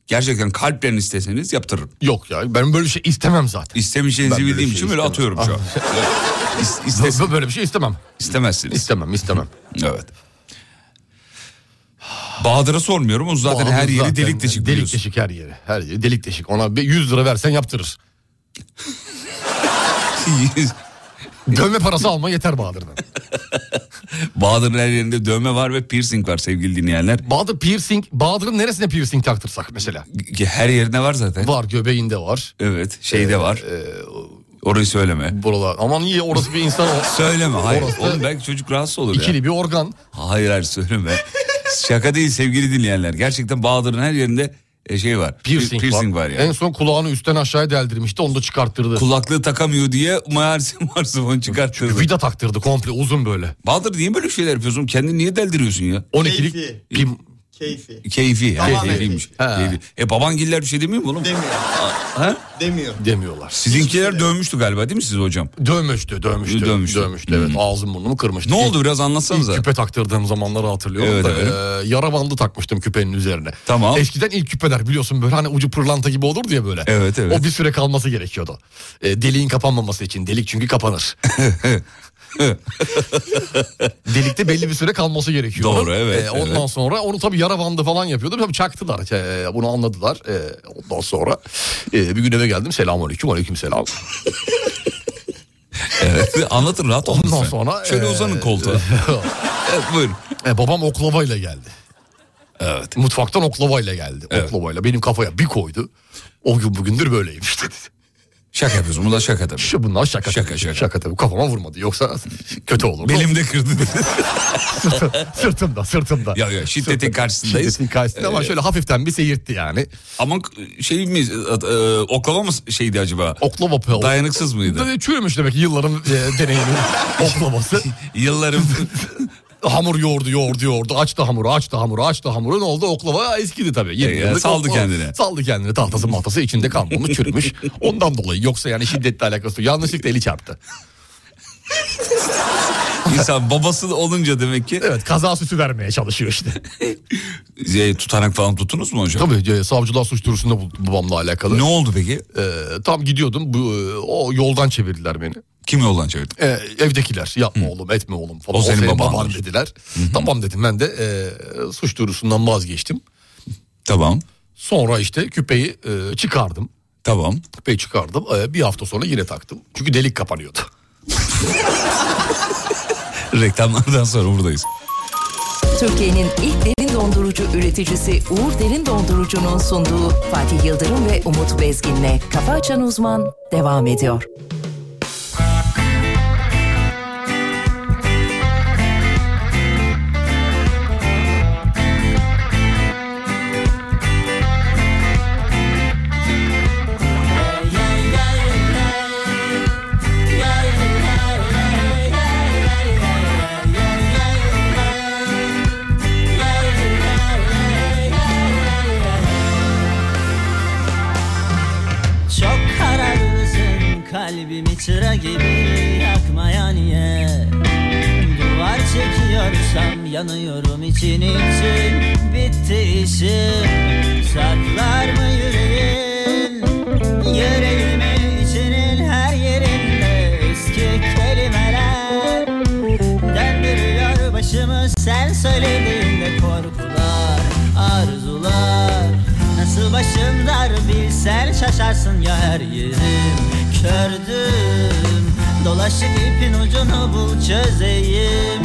C: Gerçekten kalplerini isteseniz yaptırırım.
D: Yok ya ben böyle bir şey istemem zaten. Ben
C: İstemeyeceğinizi
D: böyle
C: bildiğim
D: şey
C: için böyle
D: istemem.
C: atıyorum
D: Ah.
C: şu an. İs- istes-
D: Böyle bir şey istemem.
C: istemezsiniz.
D: İstemem istemem.
C: Evet. Bahadır'a sormuyorum. O zaten
D: Bağımlı
C: her yeri
D: zaten.
C: delik deşik
D: Delik
C: biliyorsun.
D: deşik her yeri. Her yeri delik deşik. Ona bir 100 lira versen yaptırır. Dövme parası alma yeter Bahadır'dan.
C: Bahadır'ın her yerinde dövme var ve piercing var sevgili dinleyenler.
D: Bahadır piercing, Bahadır'ın neresine piercing taktırsak mesela?
C: Her yerine var zaten.
D: Var göbeğinde var.
C: Evet şeyde
D: Ee,
C: var.
D: e,
C: Orayı söyleme.
D: Buralar. Aman iyi orası bir insan o.
C: Söyleme hayır.
D: Orası-
C: Oğlum belki çocuk rahatsız olur ya.
D: İkili bir organ.
C: Hayır hayır söyleme. Şaka değil sevgili dinleyenler. Gerçekten Bahadır'ın her yerinde e, şey var. Pi-
D: Piercing, var.
C: var. yani.
D: En son kulağını üstten aşağıya deldirmişti onu da çıkarttırdı.
C: Kulaklığı takamıyor diye Meğerse Marsifon çıkarttırdı.
D: Vida taktırdı komple uzun böyle.
C: Bahadır niye böyle şeyler yapıyorsun? Kendini niye deldiriyorsun ya?
D: 12'lik
F: Keyfi.
D: pim.
F: Keyfi.
C: Keyfi. ha,
F: Tamamen
C: keyfiymiş.
F: keyfi.
D: Ha.
C: Keyfi. E babangiller bir şey demiyor mu oğlum?
F: Demiyor.
C: Ha?
F: Demiyor.
D: demiyorlar.
C: Sizinkiler dövmüştü galiba değil mi siz hocam?
D: Dövmüştü, dövmüştü.
C: Dövmüştü. Hmm.
D: Dövmüştü, evet. Ağzım burnumu kırmıştı.
C: Ne
D: İlk-
C: oldu biraz
D: İlk
C: anlatsanıza.
D: küpe taktırdığım zamanları hatırlıyorum
C: Evet,
D: da
C: evet.
D: e, yara bandı takmıştım küpenin üzerine.
C: Tamam.
D: Eskiden ilk küpeler biliyorsun böyle hani ucu pırlanta gibi olurdu ya böyle.
C: Evet, evet.
D: O bir süre kalması gerekiyordu. E, deliğin kapanmaması için delik çünkü kapanır. Delikte belli bir süre kalması gerekiyordu. E,
C: Doğru, evet,
D: ondan
C: evet.
D: sonra onu tabii yara bandı falan yapıyordu. Tabii çaktılar e, bunu anladılar. E, ondan sonra e, bir gün eve geldim selamun aleyküm aleyküm selam.
C: Evet. Anlatın rahat olun.
D: Ondan
C: lütfen.
D: sonra,
C: Şöyle
D: e,
C: uzanın koltuğa. evet, buyurun.
D: E, babam oklavayla geldi. Evet. Mutfaktan oklavayla geldi. Oklavayla benim kafaya bir koydu. O gün bugündür böyleymiş dedi.
C: Şaka yapıyorsun. Bu da şaka tabii.
D: Şu bunlar şaka.
C: Şaka,
D: tabii.
C: şaka.
D: tabii. Kafama vurmadı. Yoksa kötü olur.
C: Belimde kırdı dedi.
D: sırtımda sırtımda.
C: Ya, ya, şiddetin
D: Sırtım-
C: karşısındayız.
D: Şiddetin karşısında ama şöyle hafiften bir seyirtti yani.
C: Ama k- şey mi e, e, oklava mı şeydi acaba?
D: Oklava pe-
C: Dayanıksız mıydı?
D: Tabii Çürümüş demek ki yılların e, deneyimi oklavası.
C: Yılların
D: Hamur yoğurdu yoğurdu yoğurdu. Açtı hamuru açtı hamuru açtı hamuru. Ne oldu? Oklava eskidi tabii. Yirmi
C: E, ya,
D: yıllık
C: saldı
D: oklava.
C: kendine.
D: Saldı kendine. Tahtası mahtası içinde kalmamış çürümüş. Ondan dolayı yoksa yani şiddetle alakası yok. Yanlışlıkla eli çarptı.
C: İnsan babası olunca demek ki
D: Evet kaza sütü vermeye çalışıyor işte.
C: e, tutanak falan tuttunuz mu hocam?
D: tabii e, savcılar suç duyurusunda bu- babamla alakalı.
C: Ne oldu peki?
D: E, tam gidiyordum bu, e, o yoldan çevirdiler beni.
C: Kim yoldan çevirdi?
D: E, evdekiler yapma oğlum etme oğlum falan.
C: O
D: O,
C: senin
D: senin, baban,
C: babandır.
D: dediler. Tamam dedim ben de e, suç duyurusundan vazgeçtim.
C: Tamam.
D: Sonra işte küpeyi e, çıkardım.
C: Tamam.
D: Küpeyi çıkardım. E, bir hafta sonra yine taktım. Çünkü delik kapanıyordu.
C: Reklamlardan sonra buradayız.
A: Türkiye'nin ilk derin dondurucu üreticisi Uğur Derin Dondurucu'nun sunduğu Fatih Yıldırım ve Umut Bezgin'le Kafa Açan Uzman devam ediyor.
I: Çok kararlısın kalbimi çıra gibi yakmaya niye Duvar çekiyorsam yanıyorum için için bitti işim Saklar mı yüreğin yüreğimi içinin her yerinde eski kelimeler Döndürüyor başımı sen söylediğinde korkular, arzular Nasıl başımdar bilsen şaşarsın ya her yerim kördüm Dolaşıp ipin ucunu bul çözeyim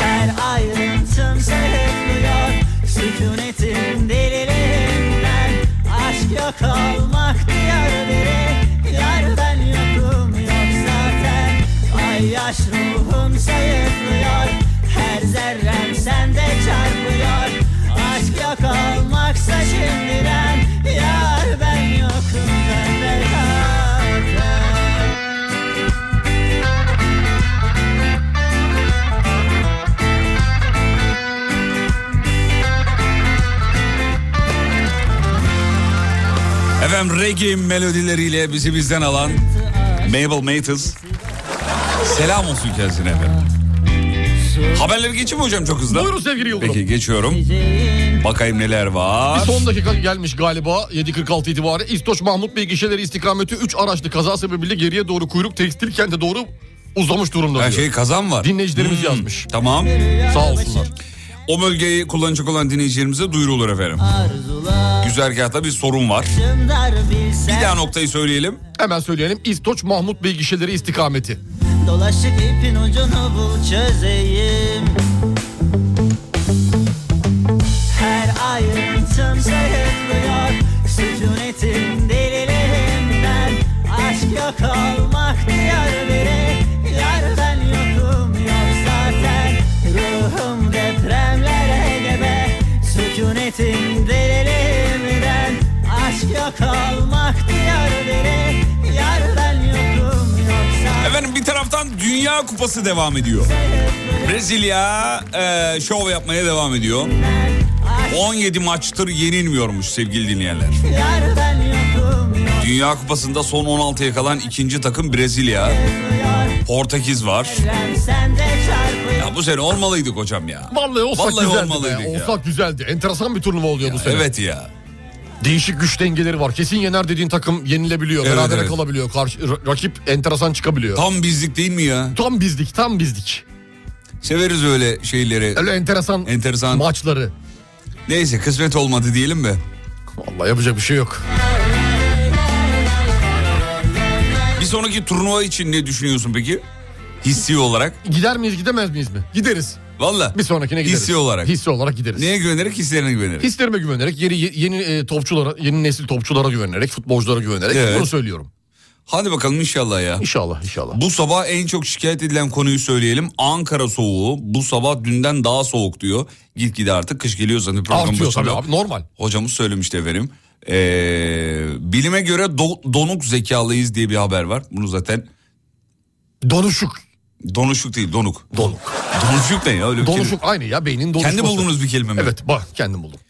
I: her ayrıntım seyretmiyor Sükunetin deliliğinden Aşk yok olmak diyor biri Yar ben yokum yok zaten Ay yaş ruhum sayıklıyor Her zerrem sende çarpıyor Aşk yok olmaksa şimdiden Yar ben yokum ben beraber
C: Efendim reggae melodileriyle bizi bizden alan Mabel Mathers. Selam olsun kendisine efendim. Haberleri geçeyim mi hocam çok hızlı?
D: Buyurun sevgili Yıldırım.
C: Peki geçiyorum. Bakayım neler
D: Bir
C: var.
D: son dakika gelmiş galiba 7.46 itibariyle İstoç Mahmut Bey gişeleri istikameti 3 araçlı kaza sebebiyle geriye doğru kuyruk tekstil kente doğru uzamış durumda.
C: Her
D: diyor.
C: şey kazan var. Hmm,
D: Dinleyicilerimiz yazmış.
C: Tamam.
D: Sağ olsunlar.
C: şey. O bölgeyi kullanacak olan dinleyicilerimize duyurulur efendim. Güzergahta bir sorun var.
I: Dar bilsen
C: Bir daha noktayı söyleyelim.
D: Hemen söyleyelim İstoç Mahmut Bey gişeleri istikameti.
I: Dolaşıp ipin ucunu bul çözeyim Her ayrıntım sayıklıyor Sükunetin deliliğinden Aşk yok olmak diyor biri Yar ben yokum yok zaten Ruhum depremlere gebe Sükunetin deliliğinden Aşk yok olmak diyor biri Yar ben yokum yok zaten
C: Efendim bir taraftan Dünya Kupası devam ediyor. Brezilya e, şov yapmaya devam ediyor. 17 maçtır yenilmiyormuş sevgili dinleyenler.
I: Yar ben yokum yok
C: Dünya Kupası'nda son 16'ya kalan ikinci takım Brezilya. Portekiz var.
I: Rem sende çarpıyor
C: Ya bu sene olmalıydık hocam ya.
D: Vallahi olsak
C: Vallahi
D: güzeldi.
C: olmalıydık
D: Be.
C: ya.
D: Olsak güzeldi. Enteresan bir turnuva oluyor bu sene.
C: Evet ya.
D: Değişik güç dengeleri var. Kesin yener dediğin takım yenilebiliyor.
C: Evet,
D: berabere
C: evet.
D: kalabiliyor. Karşı, ra- rakip enteresan çıkabiliyor. Tam,
C: Tam bizlik değil mi ya?
D: bizdik, tam bizdik.
C: Severiz öyle şeyleri.
D: Öyle enteresan
C: Enteresan.
D: maçları.
C: Neyse kısmet olmadı diyelim mi?
D: Vallahi yapacak bir şey yok.
C: Bir sonraki turnuva için ne düşünüyorsun peki? Hissi olarak.
D: Gider miyiz, gidemez miyiz mi? Gideriz.
C: Valla.
D: Bir sonrakine gideriz.
C: Hissi olarak.
D: Hissi olarak gideriz.
C: Neye güvenerek hislerine güvenerek.
D: Hislerime güvenerek, yeni, yeni e, topçulara, yeni nesil topçulara güvenerek, futbolculara güvenerek
C: Evet.
D: bunu söylüyorum.
C: Hadi bakalım inşallah ya.
D: İnşallah, inşallah.
C: Bu sabah en çok şikayet edilen konuyu söyleyelim. Ankara soğuğu bu sabah dünden daha soğuk diyor. Gitgide artık kış geliyor zaten program
D: Artıyor tabii
C: başında.
D: abi, normal.
C: Hocamız söylemişti efendim. Ee, bilime göre do- donuk zekalıyız diye bir haber var. Bunu zaten
D: Donuşuk.
C: Donuşluk değil donuk.
D: Donuk.
C: Donuşluk ne ya öyle bir şey
D: Donuşluk
C: kelime.
D: aynı ya beynin donuşması.
C: Kendi bulduğunuz bir kelime mi?
D: Evet bak kendim buldum.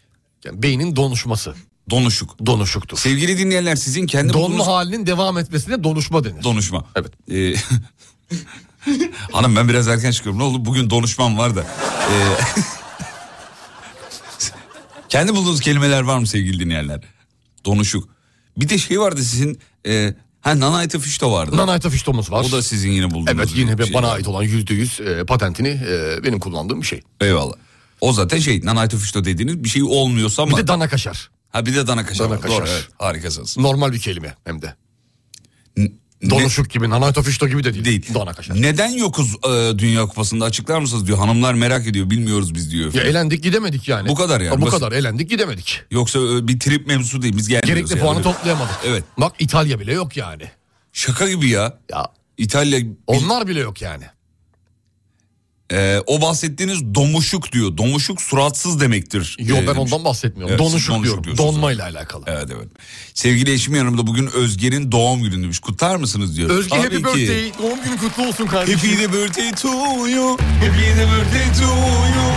D: Yani beynin donuşması.
C: Donuşluk.
D: Donuşuktur.
C: Sevgili dinleyenler sizin kendi
D: Donma
C: bulduğunuz
D: halinin devam etmesine donuşma denir.
C: donuşma.
D: Evet.
C: Ee, hanım ben biraz erken çıkıyorum. Ne oldu? Bugün donuşmam var da. Ee, kendi bulduğunuz kelimeler var mı sevgili dinleyenler? Donuşuk. Bir de şey vardı sizin... E, ha Nanayta Fişto vardı.
D: Nanayta fiştomuz var.
C: O da sizin yine bulduğunuz.
D: Evet yine
C: bir
D: bir
C: şey.
D: bana ait olan yüzde yüz e, patentini e, benim kullandığım bir şey.
C: Eyvallah. O zaten şey Nanayta Fişto dediğiniz bir şey olmuyorsa ama...
D: Bir de dana kaşar.
C: ha bir de dana kaşar.
D: Dana
C: var.
D: kaşar.
C: Doğru evet harikasınız.
D: Normal bir kelime hem de.
C: Ne-
D: Donuşuk gibi, nanayta fişto gibi de değil.
C: Değil.
D: Dana kaşar.
C: Neden yokuz e, Dünya Kupası'nda açıklar mısınız diyor. Hanımlar merak ediyor bilmiyoruz biz diyor.
D: Ya elendik gidemedik yani.
C: Bu kadar yani,
D: Ha, Bu
C: basit.
D: kadar elendik gidemedik.
C: Yoksa e, bir trip mevzusu değil biz gelmiyoruz.
D: Gerekli
C: yani.
D: puanı
C: Öyle-
D: toplayamadık.
C: Evet.
D: Bak İtalya bile yok yani.
C: Şaka gibi ya.
D: Ya
C: İtalya
D: onlar bile yok yani.
C: e, o bahsettiğiniz domuşuk diyor. Domuşuk suratsız demektir.
D: Yok
C: E,
D: ben
C: demiş.
D: ondan bahsetmiyorum.
C: Evet, siz
D: donuşuk
C: donuşuk
D: diyorum.
C: diyorsunuz.
D: Donmayla alakalı.
C: Evet evet. Sevgili eşim yanımda bugün Özge'nin doğum günü demiş. Kutlar mısınız diyor.
D: Özge
C: Tabii
D: happy
C: ki.
D: birthday. Doğum günü kutlu olsun kardeşim.
C: Happy the birthday to you. Happy the birthday to you.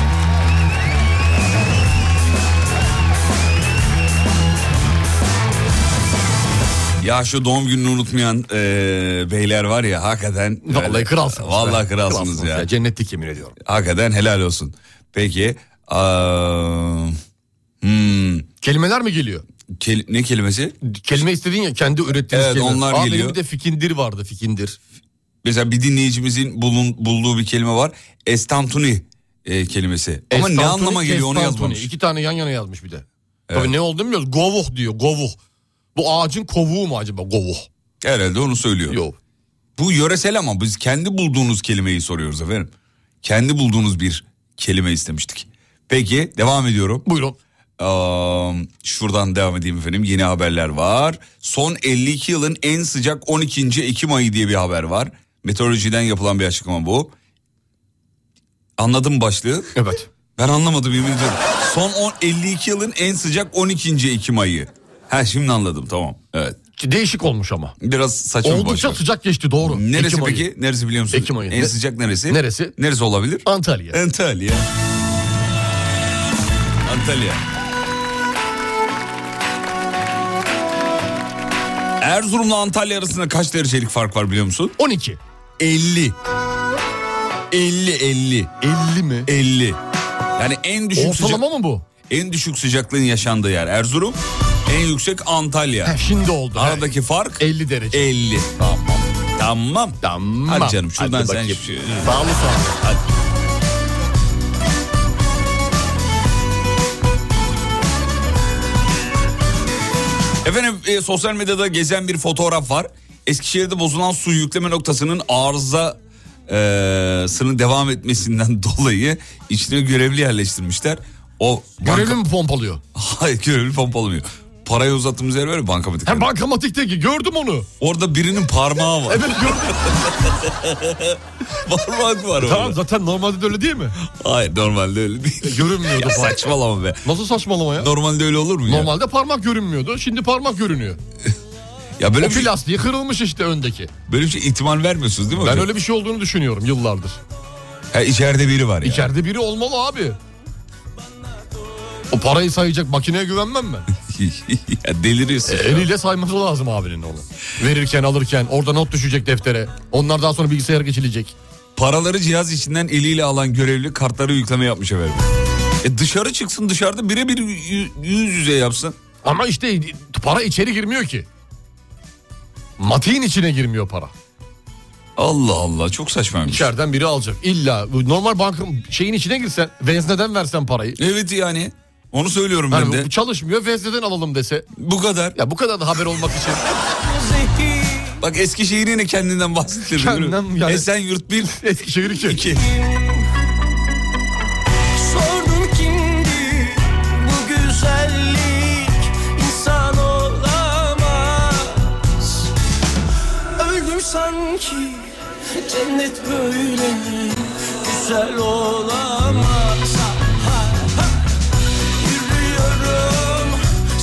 C: Ya şu doğum gününü unutmayan e, beyler var ya hakikaten. e,
D: Vallahi kralsınız.
C: Vallahi
D: be.
C: kralsınız, ya.
D: Cennetlik yemin ediyorum.
C: Hakikaten helal olsun. Peki. aa, hmm,
D: Kelimeler mi geliyor?
C: kel- ne kelimesi?
D: Kelime istediğin ya kendi ürettiğiniz
C: Evet,
D: kelime.
C: onlar
D: Aa,
C: geliyor.
D: Benim bir de fikindir vardı fikindir.
C: Mesela bir dinleyicimizin bulun, bulduğu bir kelime var. Estantuni e, kelimesi. Ama ne
D: Estantoni,
C: anlama geliyor onu
D: kestantoni.
C: yazmamış.
D: İki tane yan yana yazmış bir de. Tabii ne olduğunu bilmiyoruz. Govuh diyor govuh. Bu ağacın kovuğu mu acaba govuh?
C: Herhalde onu söylüyor.
D: Yok.
C: Bu yöresel ama biz kendi bulduğunuz kelimeyi soruyoruz efendim. Kendi bulduğunuz bir kelime istemiştik. Peki devam ediyorum.
D: Buyurun.
C: Aa, şuradan devam edeyim efendim. Yeni haberler var. Son 52 yılın en sıcak 12. Ekim ayı diye bir haber var. Meteorolojiden yapılan bir açıklama bu. Anladım başlığı.
D: Evet.
C: Ben anlamadım yemin ediyorum. Son 10, 52 yılın en sıcak 12. Ekim ayı. Ha şimdi anladım tamam. Evet.
D: Değişik olmuş ama.
C: Biraz saçma bir
D: Oldukça
C: başlık.
D: sıcak geçti doğru.
C: Neresi
D: Ekim ayı.
C: peki? Neresi biliyor musunuz?
D: Ekim ayı.
C: En
D: Ne-
C: sıcak neresi?
D: Neresi?
C: Neresi olabilir?
D: Antalya.
C: Antalya. Antalya. Erzurum'la Antalya arasında kaç derecelik fark var biliyor musun?
D: 12.
C: 50. 50 50
D: 50 mi?
C: 50. Yani en düşük sıcak,
D: Ortalama mı bu?
C: en düşük sıcaklığın yaşandığı yer Erzurum, en yüksek Antalya.
D: He, şimdi oldu.
C: Aradaki fark
D: He, 50 derece.
C: 50. Tamam. Tamam.
D: Tamam.
C: Hadi canım şuradan
D: Hadi
C: sen
D: bakayım.
C: şu-
D: Sağ olun, sağ olun.
C: Efendim e, sosyal medyada gezen bir fotoğraf var. Eskişehir'de bozulan su yükleme noktasının arıza e, sının devam etmesinden dolayı içine görevli yerleştirmişler. O banka...
D: Görevli mi pompalıyor?
C: Hayır görevli pompalamıyor. Parayı uzattığımız yer var ya bankamatik.
D: He bankamatikteki gördüm onu.
C: Orada birinin parmağı var.
D: Evet gördüm.
C: Parmak var
D: tamam
C: orada.
D: zaten normalde de öyle değil mi?
C: Hayır normalde öyle
D: E,
C: değil.
D: Görünmüyordu
C: Ya
D: falan.
C: saçmalama be.
D: Nasıl saçmalama ya?
C: Normalde öyle olur mu ya?
D: Normalde parmak görünmüyordu. Şimdi parmak görünüyor.
C: Ya böyle
D: O
C: bir, şey,
D: plastiği kırılmış işte öndeki.
C: böyle bir şey ihtimal vermiyorsunuz değil mi
D: Ben
C: hocam?
D: öyle bir şey olduğunu düşünüyorum yıllardır.
C: Ha, içeride biri var ya.
D: İçeride biri olmalı abi. O parayı sayacak makineye güvenmem ben.
C: ya deliriyorsun.
D: E, Eliyle sayması lazım abinin onu. Verirken alırken orada not düşecek deftere. Onlar daha sonra bilgisayara geçilecek.
C: Paraları cihaz içinden eliyle alan görevli kartları yükleme yapmış efendim. E dışarı çıksın dışarıda birebir yü- yüz yüze yapsın.
D: Ama işte para içeri girmiyor ki. Matiğin içine girmiyor para.
C: Allah Allah çok saçmaymış.
D: İçeriden biri alacak. İlla bu normal bankın şeyin içine girsen vezneden versen parayı.
C: Evet yani onu söylüyorum ben
D: Yani
C: de.
D: bu çalışmıyor vezneden alalım dese.
C: Bu kadar.
D: Ya bu kadar da haber olmak için.
C: Bak Eskişehir yine kendinden bahsettirdi.
D: Kendinden
C: Esen
D: yani-
C: Esenyurt 1,
D: Eskişehir iki.
C: 2.
F: Sordum kimdi bu güzellik insan olamaz Öldüm sanki cennet böyle mi güzel olamaz Ha, ha, ha. Yürüyorum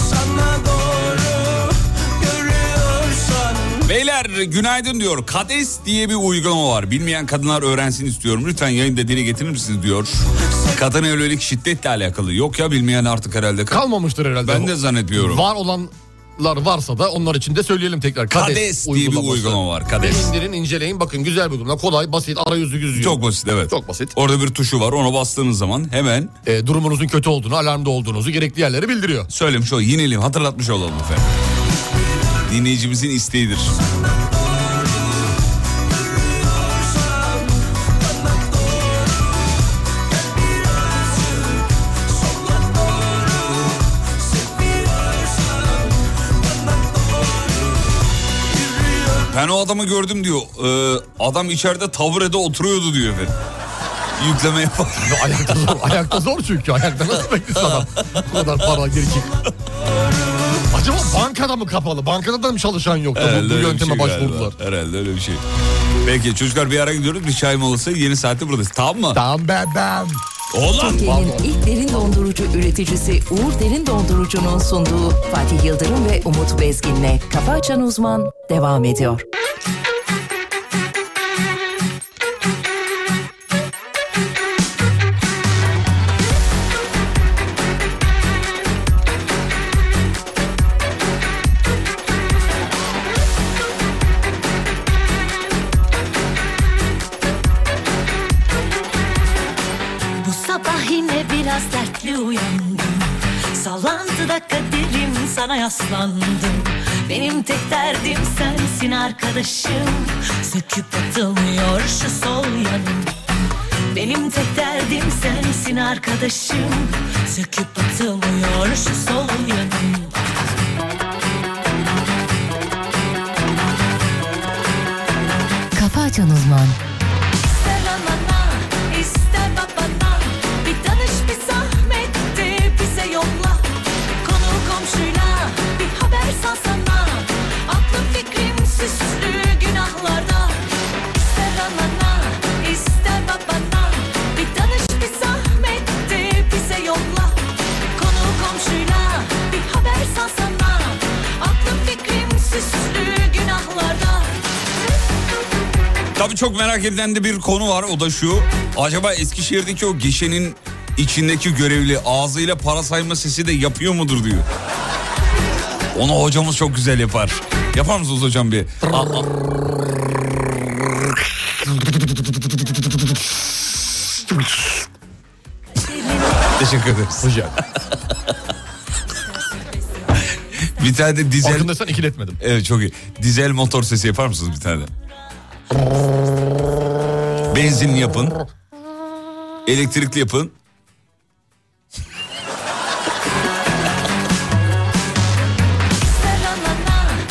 F: sana doğru görüyorsan
C: Beyler günaydın diyor. Kades diye bir uygulama var. Bilmeyen kadınlar öğrensin istiyorum. Lütfen yayında dile getirir misiniz diyor. Kadına yönelik şiddetle alakalı. Yok ya bilmeyen artık herhalde.
D: Kalmamıştır herhalde.
C: Ben de zannetmiyorum.
D: Var olanlar varsa da onlar için de söyleyelim tekrar.
C: Kades, diye bir
D: uygulaması.
C: uygulama var. Kades.
D: İndirin inceleyin bakın güzel bir uygulama. Kolay basit arayüzü yüzüyor.
C: Çok basit evet.
D: Çok basit.
C: Orada bir tuşu var. Ona bastığınız zaman hemen
D: Ee, durumunuzun kötü olduğunu alarmda olduğunuzu gerekli yerlere bildiriyor.
C: söylemiş olalım. Yinelim hatırlatmış olalım efendim. Dinleyicimizin isteğidir. Ben o adamı gördüm diyor. Ee, adam içeride taburede oturuyordu diyor efendim. Yükleme yapar.
D: Ya ayakta zor, ayakta zor çünkü. Ayakta nasıl bekliyorsun adam? Bu kadar para girişik. Acaba bankada mı kapalı? Bankada da mı çalışan yok? da bu, bu
C: öyle bir
D: yönteme
C: şey
D: başvurdular.
C: galiba. Herhalde öyle bir şey. Peki çocuklar bir ara gidiyoruz. Bir çay molası yeni saatte buradayız. Tamam mı?
D: Tamam ben ben.
C: Oğlum.
A: Türkiye'nin ilk derin dondurucu üreticisi Uğur Derin Dondurucu'nun sunduğu Fatih Yıldırım ve Umut Bezgin'le Kafa Açan Uzman devam ediyor.
H: Bu sabah yine biraz dertli uyandım Sallantıda kaderim sana yaslandım Benim tek derdim sensin arkadaşım Söküp atılmıyor şu sol yanım Benim tek derdim sensin arkadaşım Söküp atılmıyor şu sol yanım
A: Kafa Açan Uzman
H: İster anana, ister babana Bir danış bir zahmet de bize yolla Konu komşuyla bir haber salsana Aklım fikrim süslü günahlarda İster anana, ister babana Bir danış bir zahmet de bize yolla Konu komşuyla bir haber salsana Aklım fikrim süslü günahlarda
C: Tabii çok merak edilen de bir konu var. O da şu. Acaba Eskişehir'deki o gişenin içindeki görevli ağzıyla para sayma sesi de yapıyor mudur diyor. Onu hocamız çok güzel yapar. Yapar mısınız hocam bir? A- a- Teşekkür ederiz.
D: Hocam.
C: Bir tane de dizel...
D: Farkındaysan ikiletmedim.
C: Evet çok iyi. Dizel motor sesi yapar mısınız bir tane? Benzinli yapın. Elektrikli yapın.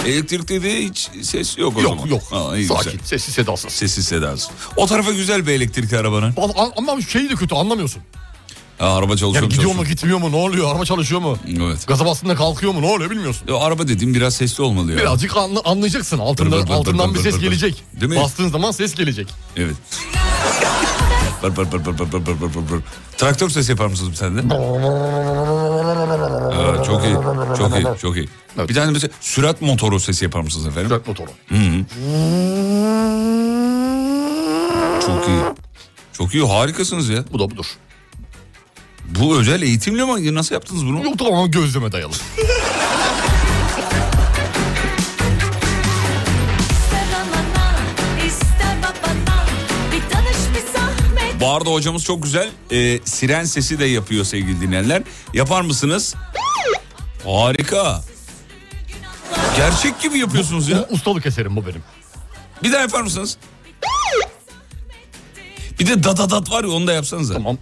C: Elektrikli de hiç ses yok o zaman.
D: Yok yok.
C: Ha, iyi,
D: Sakin.
C: güzel.
D: Sessiz sedasız.
C: Sessiz sedasız. O tarafa güzel bir elektrikli arabanın.
D: Ama- a- Ama şeyi de kötü anlamıyorsun.
C: Ha, araba çalışıyor
D: Yani
C: mu,
D: gidiyor mu
C: çalışıyor
D: gitmiyor mu ne oluyor? Araba çalışıyor mu?
C: mu? Evet.
D: Gaza bastığında kalkıyor mu ne oluyor bilmiyorsun.
C: Ya, araba dediğim biraz sesli olmalı ya.
D: Birazcık anla- anlayacaksın altında,
C: Dır dır dır
D: altından
C: dır
D: bir
C: dır
D: ses
C: dır dır.
D: gelecek.
C: Değil mi?
D: Bastığın zaman ses gelecek.
C: Evet. Bır bır bır bır bır bır bır bır bır bır. Traktör sesi yapar mısınız bir tane de? Aa, çok iyi, çok iyi, çok iyi.
D: Evet.
C: Bir tane de mesela sürat motoru sesi yapar mısınız efendim?
D: Sürat motoru.
C: Çok iyi. Çok iyi, harikasınız ya.
D: Bu da budur.
C: Bu özel eğitimle mi? Nasıl yaptınız bunu?
D: Yok tamamen gözleme dayalı.
J: İster anana, ister babana Bir danış bir zahmet
C: Bu arada hocamız çok güzel e, siren sesi de yapıyor sevgili dinleyenler. Yapar mısınız? Harika. Gerçek gibi yapıyorsunuz ya.
D: Bu Ustalık eserim bu benim.
C: Bir daha yapar mısınız? Bir de datadat var ya onu da yapsanıza.
D: Tamam.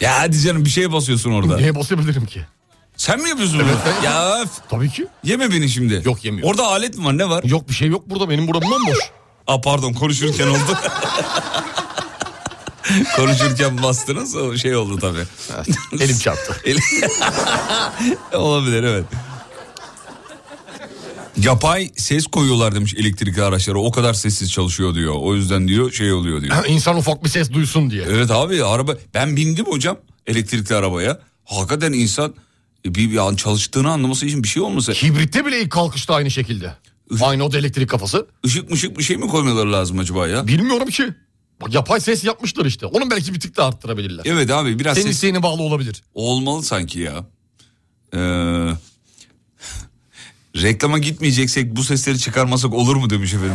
C: Ya hadi canım bir şeye basıyorsun orada.
D: Neye basabilirim ki?
C: Sen mi yapıyorsun
D: Evet,
C: bunu?
D: ben
C: Ya öf,
D: Tabii ki.
C: yeme beni şimdi.
D: Yok, yemiyorum.
C: Orada alet mi var ne var?
D: Yok bir şey yok burada benim buram bomboş.
C: Aa pardon konuşurken oldu. konuşurken bastınız o şey oldu tabii.
D: Elim çarptı.
C: Olabilir evet. Yapay ses koyuyorlar demiş elektrikli araçlara. O kadar sessiz çalışıyor diyor. O yüzden diyor şey oluyor diyor.
D: İnsan ufak bir ses duysun diye.
C: Evet abi araba ben bindim hocam elektrikli arabaya. Hakikaten insan E, Bir, bir an çalıştığını anlaması için bir şey olmasa
D: Hibritte bile ilk kalkışta aynı şekilde. Aynı o da elektrik kafası.
C: ışık mışık bir şey mi koymaları lazım acaba ya?
D: Bilmiyorum ki. Bak yapay ses yapmışlar işte. Onun belki bir tık da arttırabilirler.
C: Evet abi biraz
D: Senin
C: ses
D: isteğine bağlı olabilir.
C: olmalı sanki ya. Ee, reklama gitmeyeceksek bu sesleri çıkarmasak olur mu demiş efendim.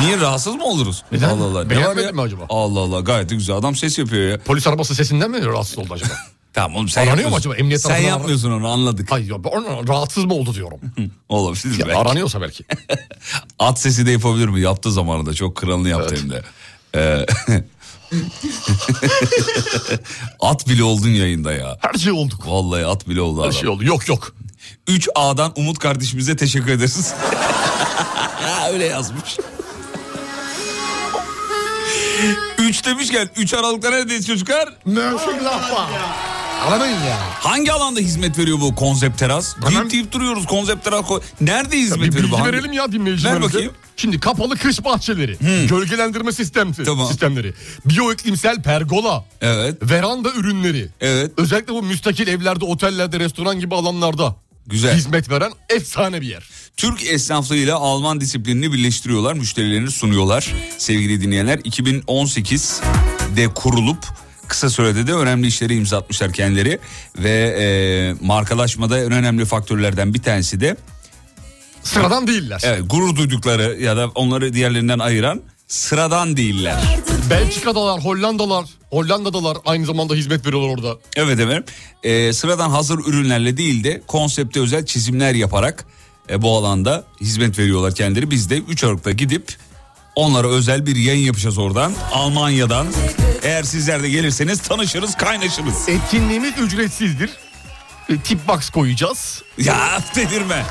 C: Niye rahatsız mı oluruz?
D: Neden?
C: Allah Allah. ne
D: Beğenmedin
C: var ya?
D: mi acaba?
C: Allah Allah gayet de güzel adam ses yapıyor ya.
D: Polis arabası sesinden mi rahatsız oldu acaba?
C: Tamam oğlum sen
D: Aranıyor mu
C: yapmıyorsun.
D: acaba? Emniyet
C: sen
D: tarafından
C: yapmıyorsun onu anladık.
D: Hayır ya ben ona rahatsız mı oldu diyorum.
C: Olabilir
D: Ya
C: belki.
D: aranıyorsa belki.
C: At sesi de yapabilir mi? Yaptı zamanında çok kralını yaptı hem de. Ee, at bile oldun yayında ya.
D: Her şey oldu.
C: Vallahi at bile oldu
D: Her
C: adam.
D: şey oldu. Yok yok.
C: 3A'dan Umut kardeşimize teşekkür ederiz. Öyle yazmış. 3 demişken 3 Aralık'ta neredeyiz çocuklar?
D: Mevsim laf var. Aramayın ya.
C: Hangi alanda hizmet veriyor bu konsept teras?
D: Hemen-
C: Deyip deyip duruyoruz konsept teras. ko- Nerede hizmet
D: Bir
C: veriyor bu?
D: bilgi
C: Hangi-
D: verelim ya
C: Ver
D: dinleyicilerimize.
C: bakayım.
D: Şimdi kapalı kış bahçeleri, gölgelendirme sistemleri,
C: Tamam.
D: sistemleri, biyoiklimsel pergola,
C: Evet.
D: veranda ürünleri.
C: Evet.
D: Özellikle bu müstakil evlerde, otellerde, restoran gibi alanlarda
C: Güzel.
D: hizmet veren efsane bir yer.
C: Türk esnaflığıyla Alman disiplinini birleştiriyorlar, müşterilerini sunuyorlar. Sevgili dinleyenler 2018'de kurulup kısa sürede de önemli işleri imza atmışlar kendileri. Ve e, markalaşmada en önemli faktörlerden bir tanesi de
D: Sıradan değiller.
C: evet, gurur duydukları ya da onları diğerlerinden ayıran sıradan değiller.
D: Belçika'dalar, Hollandalar, Hollanda'dalar aynı zamanda hizmet veriyorlar orada.
C: Evet efendim. Ee, sıradan hazır ürünlerle değil de konsepte özel çizimler yaparak e, bu alanda hizmet veriyorlar kendileri. Biz de 3 Aralık'ta gidip onlara özel bir yayın yapacağız oradan. Almanya'dan. Eğer sizler de gelirseniz tanışırız, kaynaşırız.
D: Etkinliğimiz ücretsizdir. E, tip box koyacağız.
C: Ya delirme.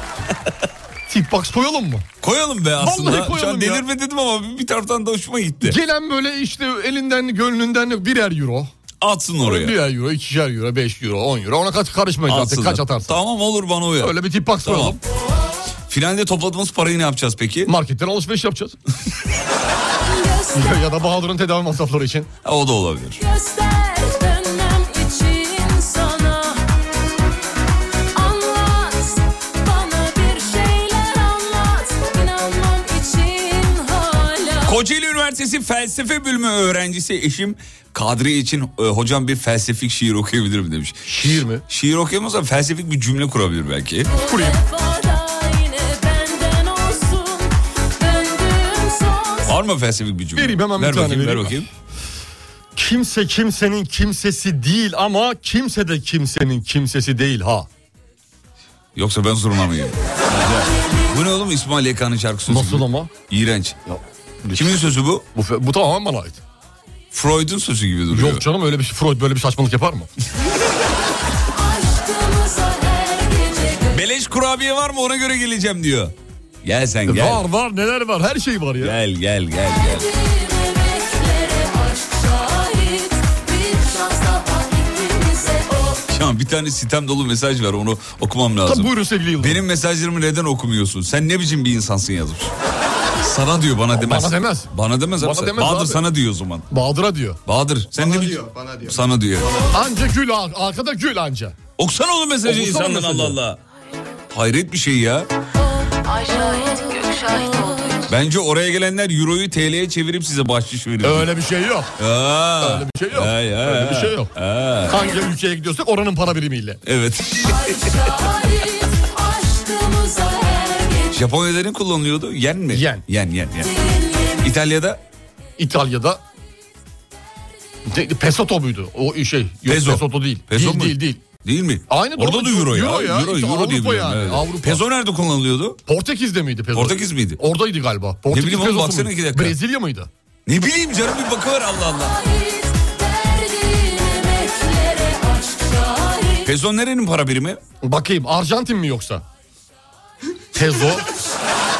D: Tip box koyalım mı?
C: Koyalım be aslında.
D: koyalım
C: Şu an
D: ya.
C: delirme dedim ama bir taraftan da hoşuma gitti.
D: Gelen böyle işte elinden gönlünden birer euro.
C: Atsın oraya.
D: Birer euro, ikişer euro, beş euro, on euro. Ona kaç karışmayız artık
C: Atsınlar.
D: kaç atarsan.
C: Tamam olur bana uyar.
D: Öyle bir tip box
C: Tamam.
D: koyalım.
C: Finalde topladığımız parayı ne yapacağız peki?
D: Marketten alışveriş yapacağız. ya, ya da Bahadır'ın tedavi masrafları için.
C: Ha, O da olabilir.
K: Göster dönmem için sana Anlat bana bir şeyler anlat İnanmam için hala
C: Kocaeli Üniversitesi Felsefe Bölümü öğrencisi eşim Kadri için e, hocam bir felsefik şiir okuyabilir mi demiş.
D: Şiir mi?
C: Şiir okuyamazsa felsefik bir cümle kurabilir belki.
D: Kurayım.
K: Vara yine benden olsun Döndüğüm son
C: Var mı felsefik bir cümle?
D: Vereyim, hemen bir
C: ver
D: tane
C: bakayım, ver
D: vereyim.
C: bakayım.
D: Kimse kimsenin kimsesi değil ama kimse de kimsenin kimsesi değil ha.
C: Yoksa ben zoruna mı gireyim? Güzel. Bu ne oğlum İsmail YK'nın şarkı sözü.
D: Nasıl
C: gibi.
D: ama?
C: İğrenç. Kimin sözü bu?
D: Bu, fe- bu tamamen bana ait.
C: Freud'un sözü gibi duruyor.
D: Yok canım öyle bir
C: şey-
D: Freud böyle bir saçmalık yapar mı?
K: aşkımıza her gece
C: Beleş kurabiye var mı ona göre geleceğim diyor. Gel sen gel.
D: Var var neler var her şey var ya.
C: Gel gel gel gel.
K: Emeklere aşk şahit Bir şans daha ikimize o
C: Ya bir tane sitem dolu mesaj var onu okumam lazım.
D: Tabii buyurun sevgili Yıldırım.
C: Benim mesajlarımı neden okumuyorsun? Sen ne biçim bir insansın yazmış. Sana diyor bana demez.
D: bana demez.
C: Bana demez.
D: Bana
C: Bana
D: demez
C: Bahadır
D: abi.
C: sana diyor o zaman.
D: Bahadır'a diyor.
C: Bahadır sen ne biçim-
L: bana diyor.
C: Sana diyor.
D: Anca gül ar- arkada gül anca.
C: Okusana oğlum mesajı
D: Okusana
C: insandan
D: mesajı.
C: Allah Allah. Hayret bir şey ya.
G: Ay şahit gök şahit oldu
C: Bence oraya gelenler euroyu TL'ye çevirip size bahşiş veriyor.
D: Öyle bir şey yok.
C: Aa,
D: Öyle bir şey yok.
C: Ay, ay,
D: Öyle bir şey yok.
C: ay.
D: Hangi ülkeye gidiyorsak oranın para birimiyle.
C: Evet.
K: şahit Aşkımıza her gece
C: Japonya'da ne kullanılıyordu? Yen mi?
D: Yen.
C: Yen yen yen. İtalya'da
D: İtalya'da De- pesoto muydu? O şey. Yok,
C: Peso.
D: pesoto değil.
C: Peso
D: değil,
C: mu?
D: değil değil.
C: değil mi?
D: Aynı
C: Orada
D: doğru.
C: da euro,
D: Euro
C: ya.
D: ya.
C: Euro, euro
D: İşte Avrupa
C: diye biliyorum.
D: yani,
C: evet.
D: Avrupa.
C: Peso nerede kullanılıyordu?
D: Portekiz'de miydi peso?
C: Portekiz miydi?
D: Oradaydı galiba. Portekiz
C: bileyim oğlum,
D: pesosu
C: baksana
D: muydu?
C: iki dakika.
D: Brezilya mıydı?
C: Ne bileyim canım bir bakıver Allah Allah.
K: Şahit Verdiğin emeklere aşk şahit
C: Peso nerenin para birimi?
D: Bakayım Arjantin mi yoksa? Peso,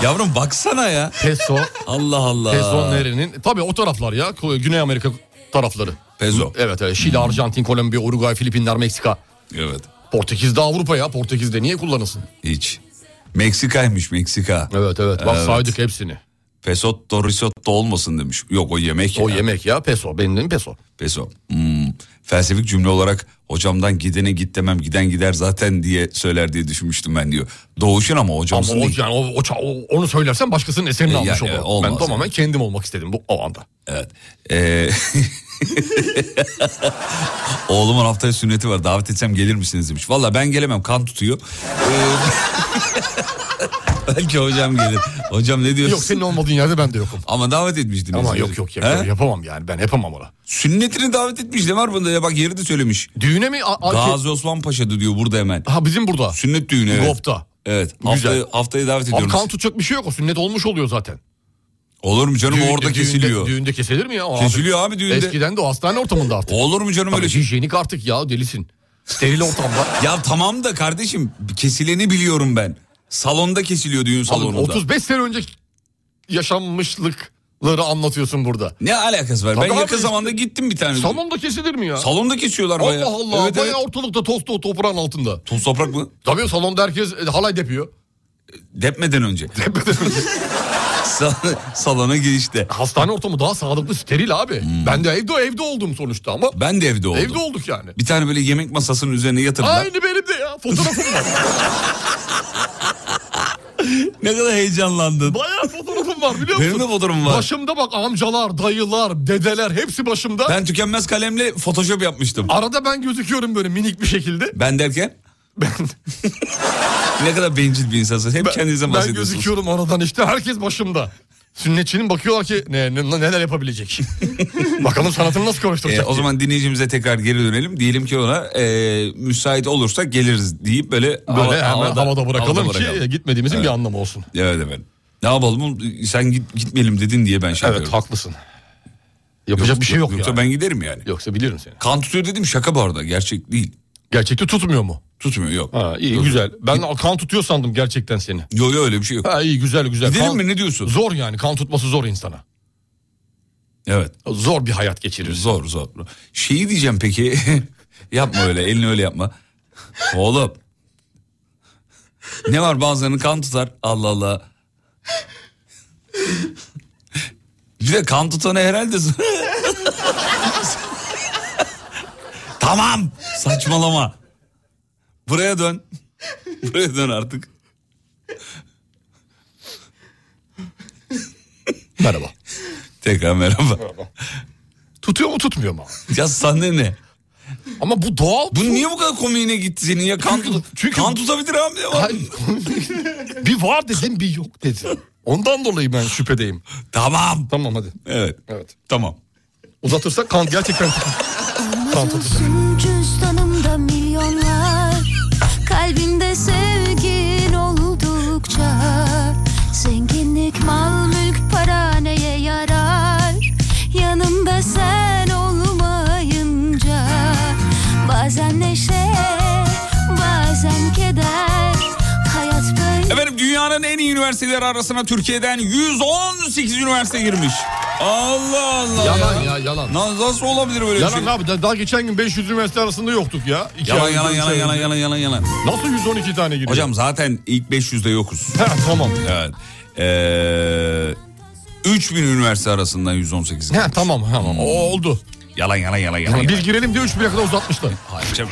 C: Yavrum baksana ya.
D: peso,
C: Allah Allah.
D: peso nerenin? Tabii o taraflar ya. Güney Amerika tarafları.
C: Peso.
D: Evet evet. Şili, Arjantin, Kolombiya, Uruguay, Filipinler, Meksika.
C: Evet.
D: Portekiz'de Avrupa ya. Portekiz'de niye kullanılsın?
C: Hiç. Meksika'ymış Meksika.
D: Evet evet. Bak
C: Evet.
D: saydık hepsini.
C: Pesotto risotto olmasın demiş. Yok o yemek.
D: O
C: ya.
D: yemek ya peso. Benim peso.
C: Peso. Hmm. felsefik cümle olarak hocamdan gidene git demem giden gider zaten diye söyler diye düşünmüştüm ben diyor. Doğuşun ama
D: Ama
C: hocamsın
D: o,
C: değil.
D: yani o, o ça- o- onu söylersen başkasının eserini
C: E,
D: almış
C: yani,
D: olurum.
C: e, olmaz.
D: ben tamamen kendim olmak istedim bu o anda.
C: Evet. Ee, Oğlumun haftaya sünneti var davet etsem gelir misiniz demiş. Valla ben gelemem kan tutuyor. Ee, Belki hocam gelir. Hocam ne diyorsun?
D: Yok senin olmadığın yerde ben de yokum.
C: Ama davet etmiştin.
D: Ama
C: bizi.
D: yok yok
C: He?
D: yapamam, yapamam yani ben yapamam ona.
C: Sünnetini davet etmiş ne var bunda ya bak yeri de söylemiş.
D: Düğüne mi? A- a-
C: Gazi Osman Paşa'da diyor burada hemen.
D: Ha bizim burada.
C: Sünnet düğünü evet.
D: Gop'ta.
C: Evet
D: Güzel.
C: haftaya, haftaya davet
D: Abi
C: ediyorum.
D: kan tutacak bir şey yok o sünnet olmuş oluyor zaten.
C: Olur mu canım
D: Düğünde-
C: orada
D: düğünde-
C: kesiliyor.
D: Düğünde kesilir mi ya? O
C: Kesiliyor abi düğünde.
D: Eskiden de o hastane ortamında artık.
C: Olur mu canım
D: Tabii
C: öyle şey?
D: hijyenik artık ya delisin. Steril ortamda.
C: Ya tamam da kardeşim kesileni biliyorum ben. Salonda kesiliyor düğün
D: Oğlum,
C: salonunda.
D: 35 sene önce yaşanmışlıkları anlatıyorsun burada.
C: Ne alakası var?
D: Tabii
C: ben
D: abi
C: yakın
D: işte-
C: zamanda gittim bir tane.
D: Salonda kesilir mi ya?
C: Salonda kesiyorlar
D: Allah
C: bayağı.
D: Allah
C: Evet,
D: bayağı
C: evet.
D: ortalıkta toz to- toprağın altında.
C: Toz toprak mı?
D: Tabii salonda herkes e, halay depiyor.
C: Depmeden önce. Sal- Salona girişte.
D: Hastane ortamı daha sağlıklı steril abi. Ben de evde evde oldum sonuçta ama
C: Hmm. Ben de evde oldum.
D: evde olduk yani.
C: Bir tane böyle yemek masasının üzerine yatırdılar.
D: Aynı benim de ya fotoğrafım var.
C: Ne kadar heyecanlandın.
D: Bayağı fotoğrafım var biliyor musun?
C: Benim de fotoğrafım var.
D: Başımda bak amcalar, dayılar, dedeler hepsi başımda.
C: Ben tükenmez kalemle photoshop yapmıştım.
D: Arada ben gözüküyorum böyle minik bir şekilde.
C: Ben derken
D: Ben,
C: ne kadar bencil bir insansın. Hep kendinizden
D: ben, ben
C: bahsediyorsunuz.
D: gözüküyorum aradan işte herkes başımda. Sünnetçinin bakıyorlar ki ne, ne- neler yapabilecek. Bakalım sanatını nasıl
C: Ee,
D: konuşturacak.
C: o zaman dinleyicimize tekrar geri dönelim. Diyelim ki ona e, müsait olursa geliriz deyip böyle,
D: Böyle
C: hava-
D: hemen havada, bırakalım
C: havada
D: ki e,
C: bırakalım.
D: gitmediğimizin bir anlamı olsun.
C: Evet efendim. Ne yapalım sen git, gitmeyelim dedin diye ben şey
D: Evet
C: yapıyorum.
D: haklısın. Yapacak bir şey yok
C: Yoksa
D: yani.
C: ben giderim yani.
D: Yoksa bilirim seni.
C: Kan tutuyor dedim şaka bu arada gerçek değil.
D: Gerçekte tutmuyor mu?
C: Tutmuyor yok.
D: Ha iyi güzel. Ben kan tutuyor sandım gerçekten seni.
C: Yok yok öyle bir şey yok.
D: Ha iyi güzel güzel.
C: Gidelim
D: Kan-
C: mi ne diyorsun?
D: Zor yani kan tutması zor insana.
C: Evet
D: Zor bir hayat geçirirsin.
C: zor zor. Şeyi diyeceğim peki yapma öyle elini öyle yapma. Oğlum. Ne var bazılarının kan tutar Allah Allah. Bir de kan tutanı herhalde... tamam saçmalama. Buraya dön. Buraya dön artık.
D: Merhaba.
C: Tekrar merhaba.
D: Tutuyor mu tutmuyor mu?
C: Ya sahne ne?
D: Ama bu doğal.
C: Bu niye bu kadar komiğine gitti senin ya? Kan, tut-
D: Çünkü-
C: kan tutabilir abi. ya.
D: Hayır. bir var dedim bir yok dedim. Ondan dolayı ben şüphedeyim.
C: Tamam.
D: Tamam hadi.
C: Evet.
D: Evet.
C: Tamam.
D: Uzatırsak kan gerçekten kan tutar.
K: Olsun cüzdanımda milyonlar Kalbimde sevgin oldukça Zenginlik, mal, mülk, para neye yarar Yanımda sen olmayınca Bazen neşe, bazen keder Hayat böyle
C: Efendim dünyanın en iyi üniversiteleri arasına Türkiye'den 118 üniversite girmiş. Allah Allah.
D: Yalan ya yalan.
C: Na- Nasıl olabilir böyle bir
D: Yalan
C: şey?
D: abi daha geçen gün 500 üniversite arasında yoktuk ya. İki
C: Yalan
D: ay
C: yalan
D: önce,
C: yalan
D: üç ay
C: yalan
D: önce.
C: yalan yalan yalan.
D: Nasıl 112 tane giriyor?
C: Hocam zaten ilk 500'de yokuz.
D: Ha, tamam.
C: Evet. Ee, 3000 üniversite arasından 118.
D: Ha, tamam tamam o oldu.
C: Hmm. Yalan yalan yalan yalan.
D: Tamam,
C: yalan.
D: bir girelim diye 3 kadar uzatmışlar.
C: Hayır, canım.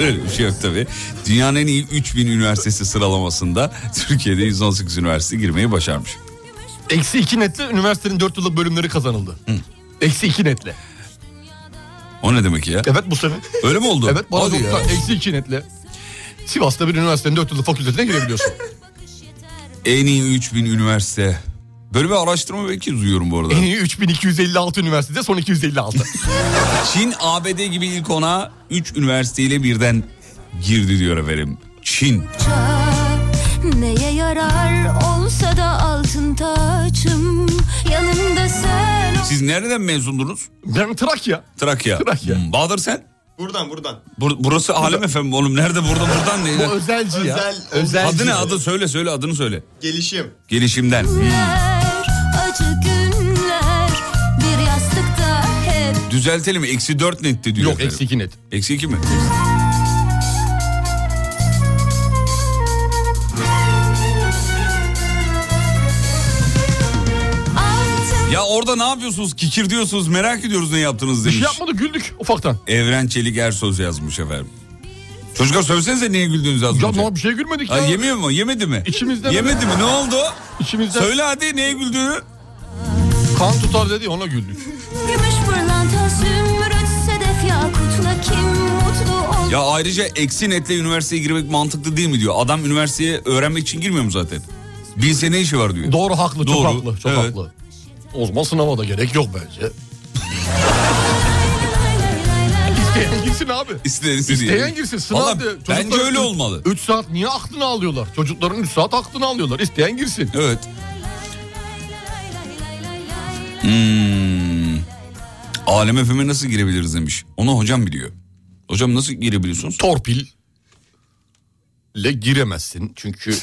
C: Öyle bir şey yok tabii. Dünyanın en iyi 3000 üniversitesi sıralamasında Türkiye'de 118 üniversite girmeyi başarmış.
D: Eksi 2 netle üniversitenin 4 yıllık bölümleri kazanıldı.
C: Hmm.
D: Eksi 2 netle.
C: O ne demek ya?
D: Evet bu sene.
C: Öyle mi oldu?
D: Evet bana
C: Hadi ya.
D: doktor eksi 2 netle. Sivas'ta bir üniversitenin 4 yıllık fakültesine girebiliyorsun.
C: En iyi 3000 üniversite. Böyle bir araştırma belki duyuyorum bu arada.
D: en iyi 3256 üniversitede son 256.
C: Çin ABD gibi ilk ona 3 üniversiteyle birden girdi diyor efendim. Çin.
K: Neye yarar olsa da altın taçım Yanımda sen
C: Siz nereden mezundunuz?
D: ben Trakya.
C: Trakya.
D: Trakya.
C: Hmm, Bahadır sen?
L: Buradan buradan.
C: Bur- burası Alem efendim oğlum. Nerede burada buradan ne?
D: Bu özelci ya.
L: Özel-
C: Adı ne? Adı söyle söyle adını söyle.
L: Gelişim.
C: Gelişimden.
D: Hmm.
K: günler Acı günler Bir yastıkta hep
C: Düzeltelim. Eksi 4 netti diyor
D: Yok
C: efendim.
D: eksi 2 net.
C: Eksi 2 mi?
K: Artık
C: Ya orada ne yapıyorsunuz? Kikir diyorsunuz merak ediyoruz ne yaptınız
D: Bir
C: demiş.
D: şey yapmadı güldük ufaktan.
C: Evren Çelik Ersoz yazmış efendim. Çocuklar söylesenize niye güldünüz az
D: Ya
C: önce.
D: ne bir şey gülmedik
C: Ha,
D: ya.
C: yemiyor mu? Yemedi mi?
D: İçimizde
C: Yemedi mi? Ne oldu?
D: İçimizde
C: Söyle hadi neye güldüğünü.
D: kan tutar dedi ona güldük.
K: Gümüş pırlanta, zümrüt, sedef, yakutla kim mutlu ol.
C: Ya ayrıca eksi netle üniversiteye girmek mantıklı değil mi diyor. Adam üniversiteye öğrenmek için girmiyor mu zaten? Bilse ne işi var diyor.
D: Doğru haklı çok
C: Doğru,
D: haklı çok
C: evet.
D: haklı. O zaman sınava da gerek yok bence. İsteyen gitsin abi.
C: İsteyen istediği yere.
D: İsteyen girsin sınav
C: Valla
D: de- çocuklar
C: Bence öyle olmalı.
D: 3 saat niye aklını alıyorlar? Çocukların 3 saat aklını alıyorlar. İsteyen girsin.
C: Evet. Hmm. Alem FM'e nasıl girebiliriz demiş. Onu hocam biliyor. Hocam nasıl girebiliyorsunuz?
D: Torpil le giremezsin çünkü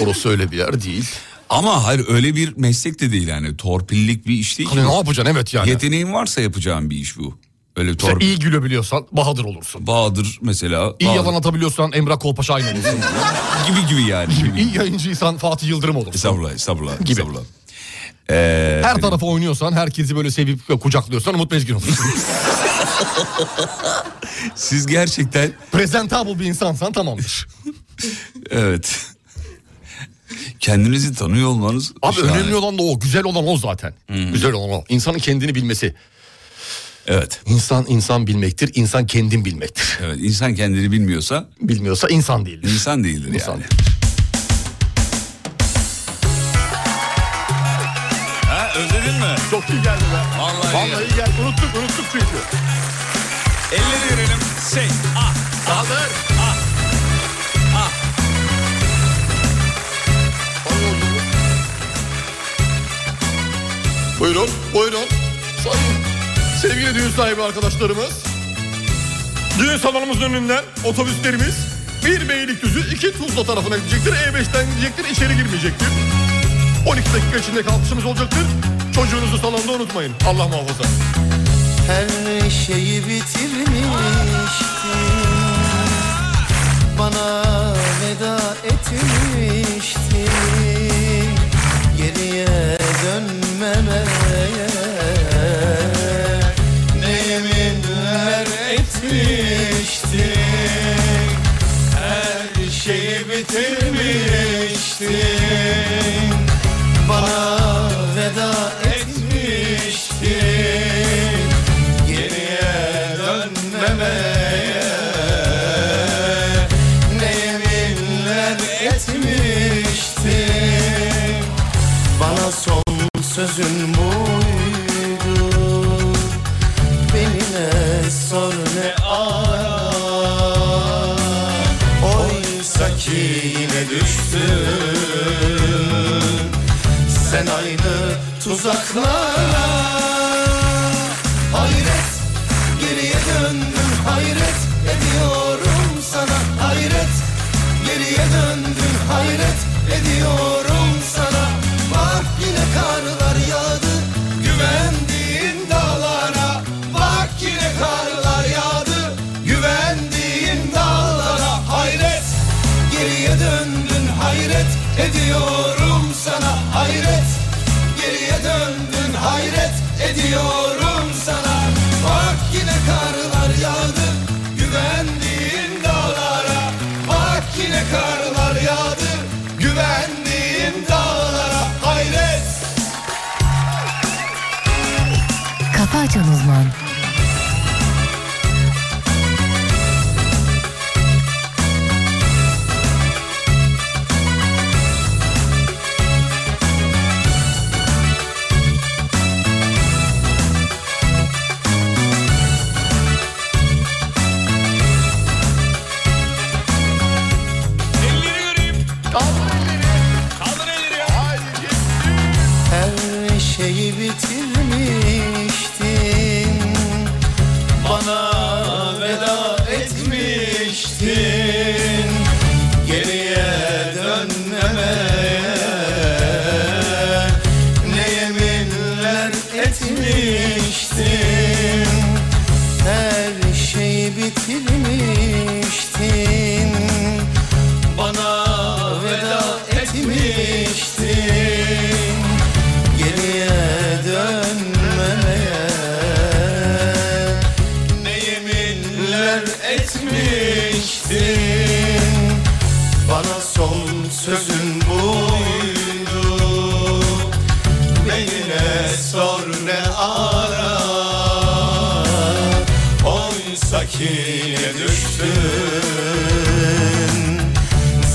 D: burası öyle bir yer değil.
C: Ama hayır öyle bir meslek de değil yani. Torpillik bir iş değil. ki.
D: Hani ne yapacaksın evet yani.
C: Yeteneğin varsa yapacağın bir iş bu. Öyle
D: Sen
C: torpil.
D: iyi gülebiliyorsan Bahadır olursun.
C: Bahadır mesela.
D: İyi
C: Bahadır
D: yalan atabiliyorsan Emrah Kolpaşa aynı olursun.
C: Gibi gibi yani. Gibi.
D: iyi yayıncıysan Fatih Yıldırım olursun.
C: Estağfurullah, estağfurullah,
D: Gibi.
C: estağfurullah. Ee,
D: Her tarafa oynuyorsan, herkesi böyle sevip ve kucaklıyorsan Umut Bezgin olursun.
C: siz gerçekten
D: Presentable bir insansan tamamdır.
C: evet kendinizi tanıyor olmanız
D: Abi
C: şahane.
D: önemli olan da o, güzel olan o zaten.
C: Hmm.
D: Güzel olan o. İnsanın kendini bilmesi.
C: Evet,
D: İnsan insan bilmektir, insan kendin bilmektir.
C: evet. İnsan kendini bilmiyorsa
D: Bilmiyorsa insan değildir.
C: insan değildir
D: İnsan
C: yani.
D: değildir.
C: Ha, özledin mi?
D: Çok iyi geldi be.
C: Vallahi,
D: Vallahi geldi. Unuttuk, unuttuk çünkü.
C: Elleri verelim. Şey, ah,
D: Kaldır. Buyurun, buyurun. Sayın sevgili düğün sahibi arkadaşlarımız. Düğün salonumuzun önünden otobüslerimiz bir Beylikdüzü, iki Tuzla tarafına gidecektir. E5'ten gidecektir, içeri girmeyecektir. 12 dakika içinde kalkışımız olacaktır. Çocuğunuzu salonda unutmayın. Allah muhafaza.
M: Her şeyi bitirmiştin Bana veda etmiştin Geriye dönmemeye Ne yeminler etmiştin Her şeyi bitirmiştin Bana veda etmiştin Geriye dönmemeye Ne yeminler etmiştin Bana son sözün buydu Beni ne sor ne ara Oysa ki yine düştün sen aynı tuzaklara Hayret geriye döndüm hayret ediyorum sana Hayret geriye döndüm hayret ediyorum sana Bak yine karlar yağdı güvendiğin dağlara Bak yine karlar yağdı güvendiğin dağlara Hayret geriye döndün hayret ediyorum sana Hayret geriye döndün hayret ediyorum sana Bak yine karlar yağdı güvendiğin dağlara Bak yine karlar yağdı güvendiğin dağlara Hayret
A: Kafa Açan Uzman.
C: elleri vereyim. Kaldır elleri.
M: Her şeyi bitirmiştin Bana veda etmiştin Geriye dönmemeye Ne yeminler etmiştin Her şeyi bitirmiştin Bana veda etmiştin Geriye sözün buydu Beni ne sor ne ara Oysa ki ne düştün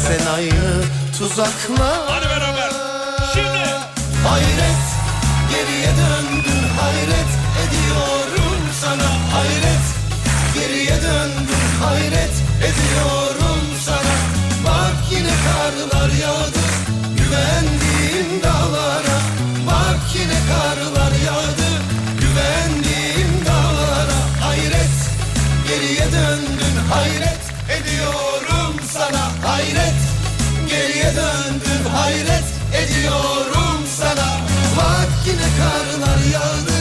M: Sen aynı tuzakla Hadi beraber Şimdi Hayret geriye döndün Hayret ediyorum sana Hayret geriye döndün Hayret ediyorum sana Bak yine karlar yağdı Güvendiğim dağlara Bak yine karlar yağdı Güvendiğim dağlara Hayret geriye döndün Hayret ediyorum sana Hayret geriye döndün Hayret ediyorum sana Bak yine karlar yağdı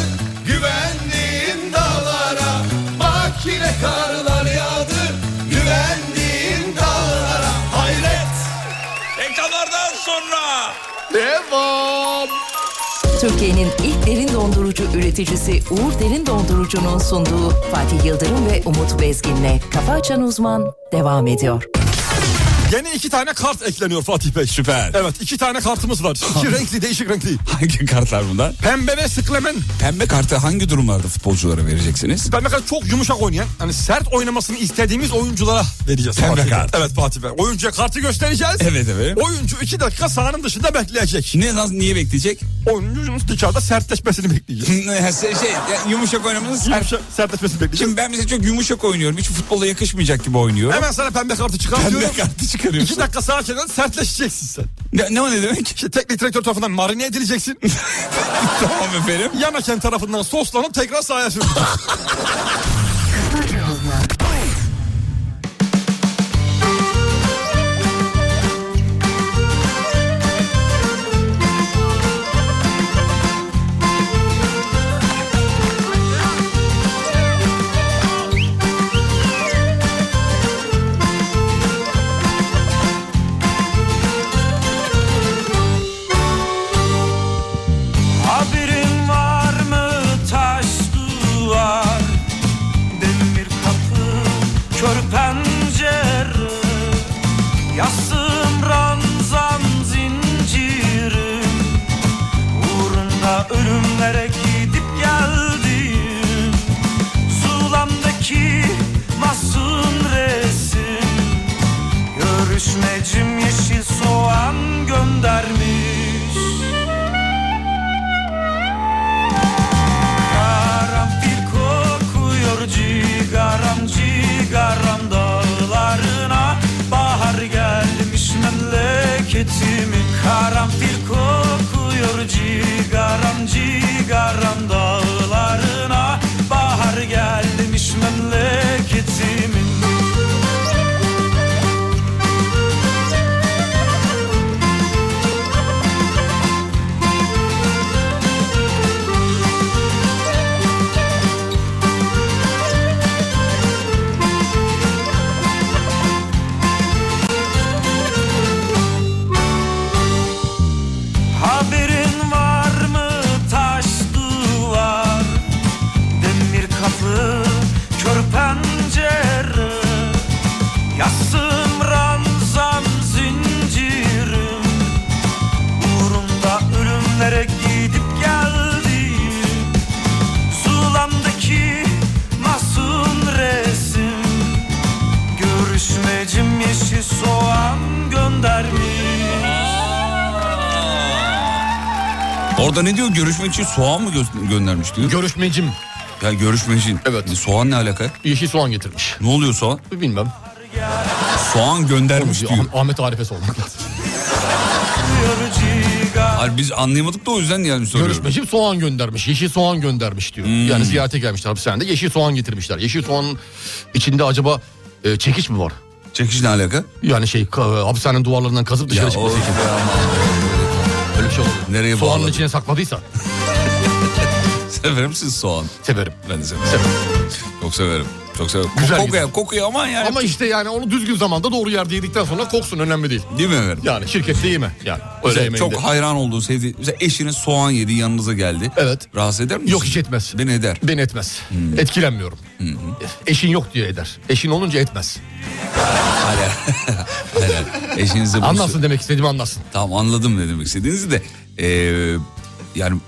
M: Güvendiğim dağlara Bak yine karlar yağdı Güvendiğim dağlara Hayret
C: Reklamlardan sonra
N: Devam.
A: Türkiye'nin ilk derin dondurucu üreticisi Uğur Derin Dondurucu'nun sunduğu Fatih Yıldırım ve Umut Bezgin'le Kafa Açan Uzman devam ediyor.
D: Yeni iki tane kart ekleniyor Fatih Bey.
C: süper.
D: Evet iki tane kartımız var. İki renkli değişik renkli.
C: Hangi kartlar bunlar?
D: Pembe ve sıklemen.
C: Pembe kartı hangi durumlarda futbolculara vereceksiniz?
D: Pembe kart çok yumuşak oynayan. Hani sert oynamasını istediğimiz oyunculara vereceğiz.
C: Pembe
D: Fatih Bey.
C: kart.
D: Evet Fatih Bey. Oyuncuya kartı göstereceğiz.
C: Evet evet.
D: Oyuncu iki dakika sahanın dışında bekleyecek.
C: Ne lan niye bekleyecek?
D: Oyuncunun dışarıda sertleşmesini bekleyeceğiz.
C: şey şey, ya yumuşak oynamanız.
D: Yumuşak, sertleşmesini bekleyeceğiz.
C: Şimdi ben mesela çok yumuşak oynuyorum. Hiç futbola yakışmayacak gibi oynuyorum.
D: Hemen sana pembe kartı çıkartıyorum.
C: Pembe kartı çıkarıyorsun.
D: İki dakika sağa kenarında sertleşeceksin sen.
C: Ne, ne o ne demek?
D: İşte teknik direktör tarafından marine edileceksin.
C: tamam efendim.
D: Yanaken tarafından soslanıp tekrar sahaya sürüleceksin.
L: Haberin var mı taş duvar Demir kapı kör pencere Yastığım ranzam zincirim Uğrunda ölümlere gidip geldim Zulamdaki masum resim Görüşmecim yeşil soğan göndermiş Karanfil kokuyor cigaram cigaram dağlarına Bahar gelmiş memleketimin Karanfil kokuyor cigaram cigaram dağlarına Bahar gelmiş memleketimin Haberin var mı taş duvar Demir kapı kör pencere Yastığım ranzam zincirim Uğrumda ölümlere gidip geldim Sulamdaki masum resim Görüşmecim yeşil soğan göndermiş
C: Orada ne diyor? Görüşme için soğan mı gö- göndermiş diyor?
N: Görüşmecim
C: ya görüşme için. Hani
N: Evet.
C: Soğan ne alaka?
N: yeşil soğan getirmiş.
C: Ne oluyor soğan?
N: Bilmem.
C: Soğan göndermiş diyor.
N: Ah- Ahmet Arif'e olmak lazım.
C: Hayır biz anlayamadık da o yüzden yani soruyorum. Hmm.
N: Görüşmecim soğan göndermiş. Yeşil soğan göndermiş diyor. Yani ziyarete gelmişler hapishanede. Yeşil soğan getirmişler. Yeşil soğanın içinde acaba e, çekiç mi var?
C: Çekiş ne alaka?
N: Yani şey ka- hapishanenin duvarlarından kazıp dışarı
C: o-
N: çıkması için. Öyle bir şey olabilir.
C: Nereye
N: Soğanın
C: bağladın?
N: içine sakladıysa.
C: Sever misiniz soğan?
D: Severim.
C: Ben de severim. Çok severim. Çok severim. Güzel kokuyor, kokuyor ama yani.
D: Ama işte yani onu düzgün zamanda doğru yerde yedikten sonra koksun önemli değil.
C: Değil mi efendim?
D: Yani şirkette yeme. Yani öyle
C: Mesela
D: yemeğinde.
C: çok hayran olduğu sevdiği. Mesela eşiniz soğan yedi yanınıza geldi. Evet. Rahatsız eder misin? Yok hiç
D: etmez.
C: Beni eder.
D: Beni etmez.
C: Hmm.
D: Etkilenmiyorum. Eşin yok diye eder. Eşin olunca etmez.
C: Hala. Hala. Eşinize bunu
D: Anlasın demek istediğimi anlasın.
C: Tamam anladım ne demek istediğinizi de eee, yani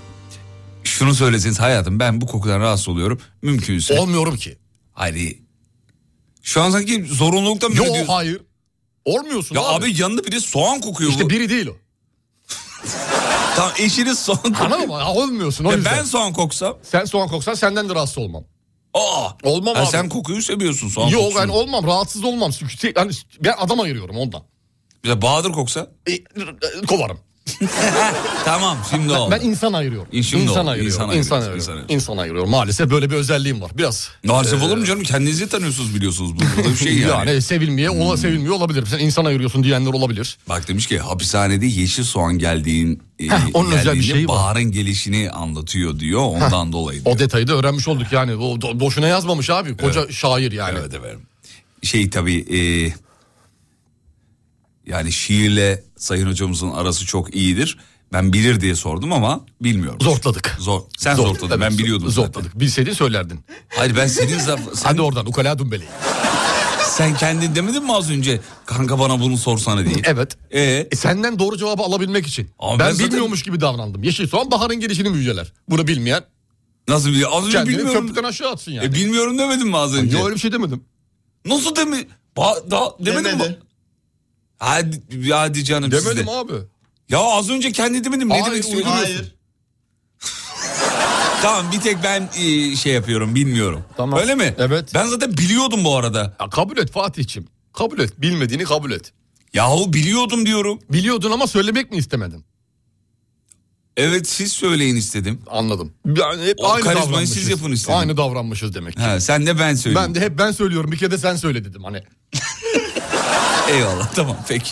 C: şunu söyleseniz hayatım ben bu kokudan rahatsız oluyorum mümkünse.
D: Olmuyorum ki.
C: Hayır. Şu an sanki zorunluluktan mı
D: Yo,
C: diyorsun?
D: hayır. Olmuyorsun
C: Ya
D: abi.
C: abi, yanında bir de soğan kokuyor
D: İşte
C: bu.
D: biri değil o.
C: Tamam eşiniz soğan kokuyor.
D: Anladın mı? Ha, Olmuyorsun o
C: Ya
D: yüzden.
C: ben soğan koksam?
D: Sen soğan koksan senden de rahatsız olmam.
C: Aa.
D: Olmam
C: Ha,
D: abi.
C: Sen kokuyu seviyorsun soğan
D: Yok hani
C: kokusunu.
D: ben olmam rahatsız olmam. Çünkü te- hani ben adam ayırıyorum ondan. E,
C: Bir de Bahadır koksa?
D: kovarım.
C: tamam şimdi
D: Ben-
C: oldu.
D: Ben insan ayırıyorum.
C: İ- şimdi
D: insan
C: oldu.
D: ayırıyorum.
C: İnsan
D: İnsan,
C: ayırıyorsun,
D: ayırıyorum.
C: insan
D: İnsan
C: ayırıyorsun.
D: ayırıyorum. Maalesef böyle bir özelliğim var. Biraz.
C: Maalesef
D: Ee,
C: olur mu canım? Kendinizi tanıyorsunuz biliyorsunuz. Bu Burada bir şey yani. Hmm.
D: Yani, sevilmeye, ola sevilmiyor olabilir. Sen insan ayırıyorsun diyenler olabilir.
C: Bak demiş ki hapishanede yeşil soğan geldiğin e,
D: Heh, onun özel bir
C: geldiğinde
D: şeyi var.
C: baharın gelişini anlatıyor diyor ondan dolayı.
D: O detayı da öğrenmiş olduk yani. O do- boşuna yazmamış abi. Koca şair yani.
C: Evet efendim. Şey tabii e, yani şiirle Sayın Hocamızın arası çok iyidir. Ben bilir diye sordum ama bilmiyorum.
D: Zortladık.
C: Zor. Sen
D: Zor-
C: zortladın
D: Evet,
C: ben
D: zor-
C: biliyordum zaten.
D: Zortladık. Bilseydin söylerdin.
C: Hayır ben senin zaf...
D: Hadi oradan ukala dumbeli.
C: Sen kendin demedin mi az önce kanka bana bunu sorsana diye.
D: Evet.
C: Ee?
D: E, senden doğru cevabı alabilmek için.
C: Ama ben
D: ben
C: zaten-
D: bilmiyormuş gibi davrandım. Yeşil soğan baharın gelişini müjdeler. Bunu bilmeyen
C: Nasıl biliyor? Az önce
D: kendini
C: bilmiyorum.
D: köprüden aşağı atsın yani.
C: E, bilmiyorum demedin mi az önce?
D: Yok öyle bir şey demedim.
C: Nasıl demi? Ba- da- demedin mi? Hadi, hadi canım siz de.
D: Demedim abi.
C: Ya az önce kendi demedim. Ne
D: Hayır,
C: demek istiyorsun?
D: uyduruyorsun.
C: tamam bir tek ben e, şey yapıyorum bilmiyorum.
D: Tamam.
C: Öyle mi?
D: Evet.
C: Ben zaten biliyordum bu arada.
D: Ya kabul et Fatih'ciğim. Kabul et. Bilmediğini kabul et.
C: Yahu biliyordum diyorum.
D: Biliyordun ama söylemek mi istemedin?
C: Evet siz söyleyin istedim.
D: Anladım. Yani hep
C: O
D: aynı
C: karizmayı
D: davranmışız.
C: siz yapın istedim.
D: Aynı davranmışız demek.
C: Ha, sen de ben söyleyeyim.
D: Ben de hep ben söylüyorum. Bir kere de sen söyle dedim hani.
C: Eyvallah tamam peki.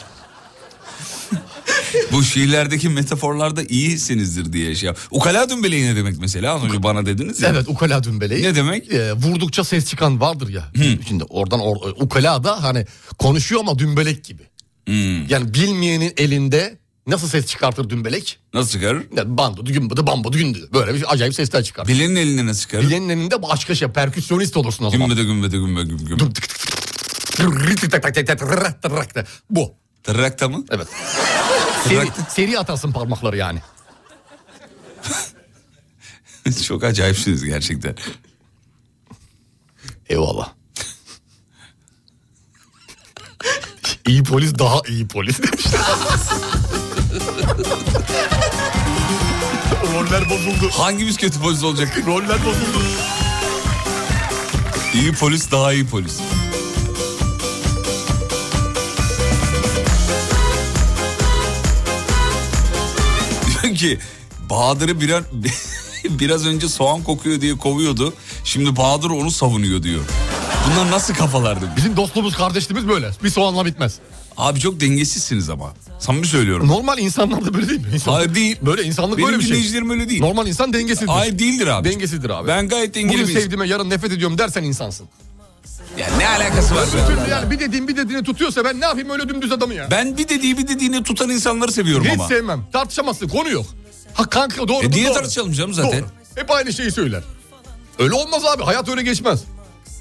C: Bu şiirlerdeki metaforlarda iyisinizdir diye şey yap. Ukala dümbeleği ne demek mesela? Az önce bana dediniz ya.
D: Evet ukala dümbeleyi.
C: Ne demek?
D: Ee, vurdukça ses çıkan vardır ya. Şimdi oradan or- ukala da hani konuşuyor ama dümbelek gibi.
C: Hmm.
D: Yani bilmeyenin elinde nasıl ses çıkartır dümbelek?
C: Nasıl çıkarır?
D: Yani bandı, gümbıdı, bambıdı, gündüdü. Böyle bir acayip sesler çıkar.
C: Bilenin eline nasıl çıkarır?
D: Bilenin elinde başka şey, perküsyonist olursun o zaman.
C: Gümbede gümbede gümbede gümbede gümbede.
D: Bu.
C: Tırrakta mı?
D: Evet. Seri, seri atarsın parmakları yani.
C: Çok acayipsiniz gerçekten.
D: Eyvallah. iyi polis daha iyi polis demişler. Roller bozuldu.
C: Hangimiz kötü polis olacak?
D: Roller bozuldu.
C: İyi polis daha iyi polis. Diyor ki Bahadır'ı bir an- biraz önce soğan kokuyor diye kovuyordu. Şimdi Bahadır onu savunuyor diyor. Bunlar nasıl kafalardı?
D: Bizim dostluğumuz kardeşliğimiz böyle. Bir soğanla bitmez.
C: Abi çok dengesizsiniz ama. Samimi söylüyorum.
D: Normal insanlar da böyle değil mi? İnsanlar-
C: Hayır değil.
D: Böyle insanlık
C: Benim
D: böyle bir şey.
C: dinleyicilerim öyle değil.
D: Normal insan dengesizdir.
C: Hayır değildir abi.
D: Dengesizdir abi.
C: Ben gayet dengeli
D: Bugün
C: bir insanım.
D: sevdiğime yarın nefret ediyorum dersen insansın.
C: Ya ne alakası var? be
D: Öbür türlü
C: Allah Allah.
D: yani bir dediğin bir dediğini tutuyorsa ben ne yapayım öyle dümdüz adamı ya.
C: Ben bir dediği bir dediğini tutan insanları seviyorum
D: Hiç
C: ama.
D: sevmem. Tartışamazsın. Konu yok. Ha kanka doğru.
C: E
D: mu?
C: niye
D: doğru.
C: tartışalım canım zaten?
D: Doğru. Hep aynı şeyi söyler. Öyle olmaz abi. Hayat öyle geçmez.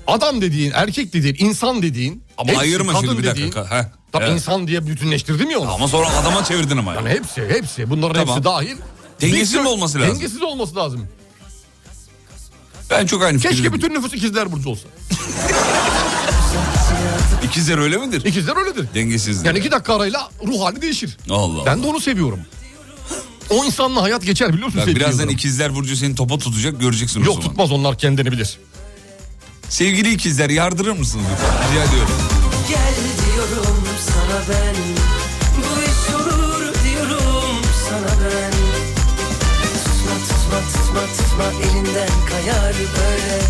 D: Adam dediğin, erkek dediğin, insan dediğin.
C: Ama
D: hepsi,
C: ayırma
D: kadın
C: şimdi bir
D: dediğin-
C: dakika. Heh.
D: Tabii
C: Evet.
D: insan diye bütünleştirdim ya onu.
C: Ama sonra adama çevirdin ama.
D: Yani hepsi, hepsi. Bunların
C: Tamam.
D: hepsi dahil.
C: Dengesiz mi olması lazım?
D: Dengesiz olması lazım.
C: Ben çok aynı
D: Keşke
C: fikirdeyim.
D: bütün nüfus ikizler burcu olsa.
C: İkizler öyle midir?
D: İkizler öyledir.
C: Dengesizdir.
D: Yani iki dakika arayla ruh hali değişir.
C: Allah Allah.
D: Ben de onu seviyorum. O insanla hayat geçer biliyor musun?
C: Bak
D: sevgili
C: birazdan
D: Yıldırım?
C: ikizler Burcu seni topa tutacak göreceksin o
D: şey Yok
C: zaman.
D: tutmaz onlar kendini bilir.
C: Sevgili ikizler yardırır mısınız lütfen? Rica ediyorum.
H: Gel diyorum sana ben Bu iş olur diyorum sana ben Tutma tutma tutma tutma elinden kayar böyle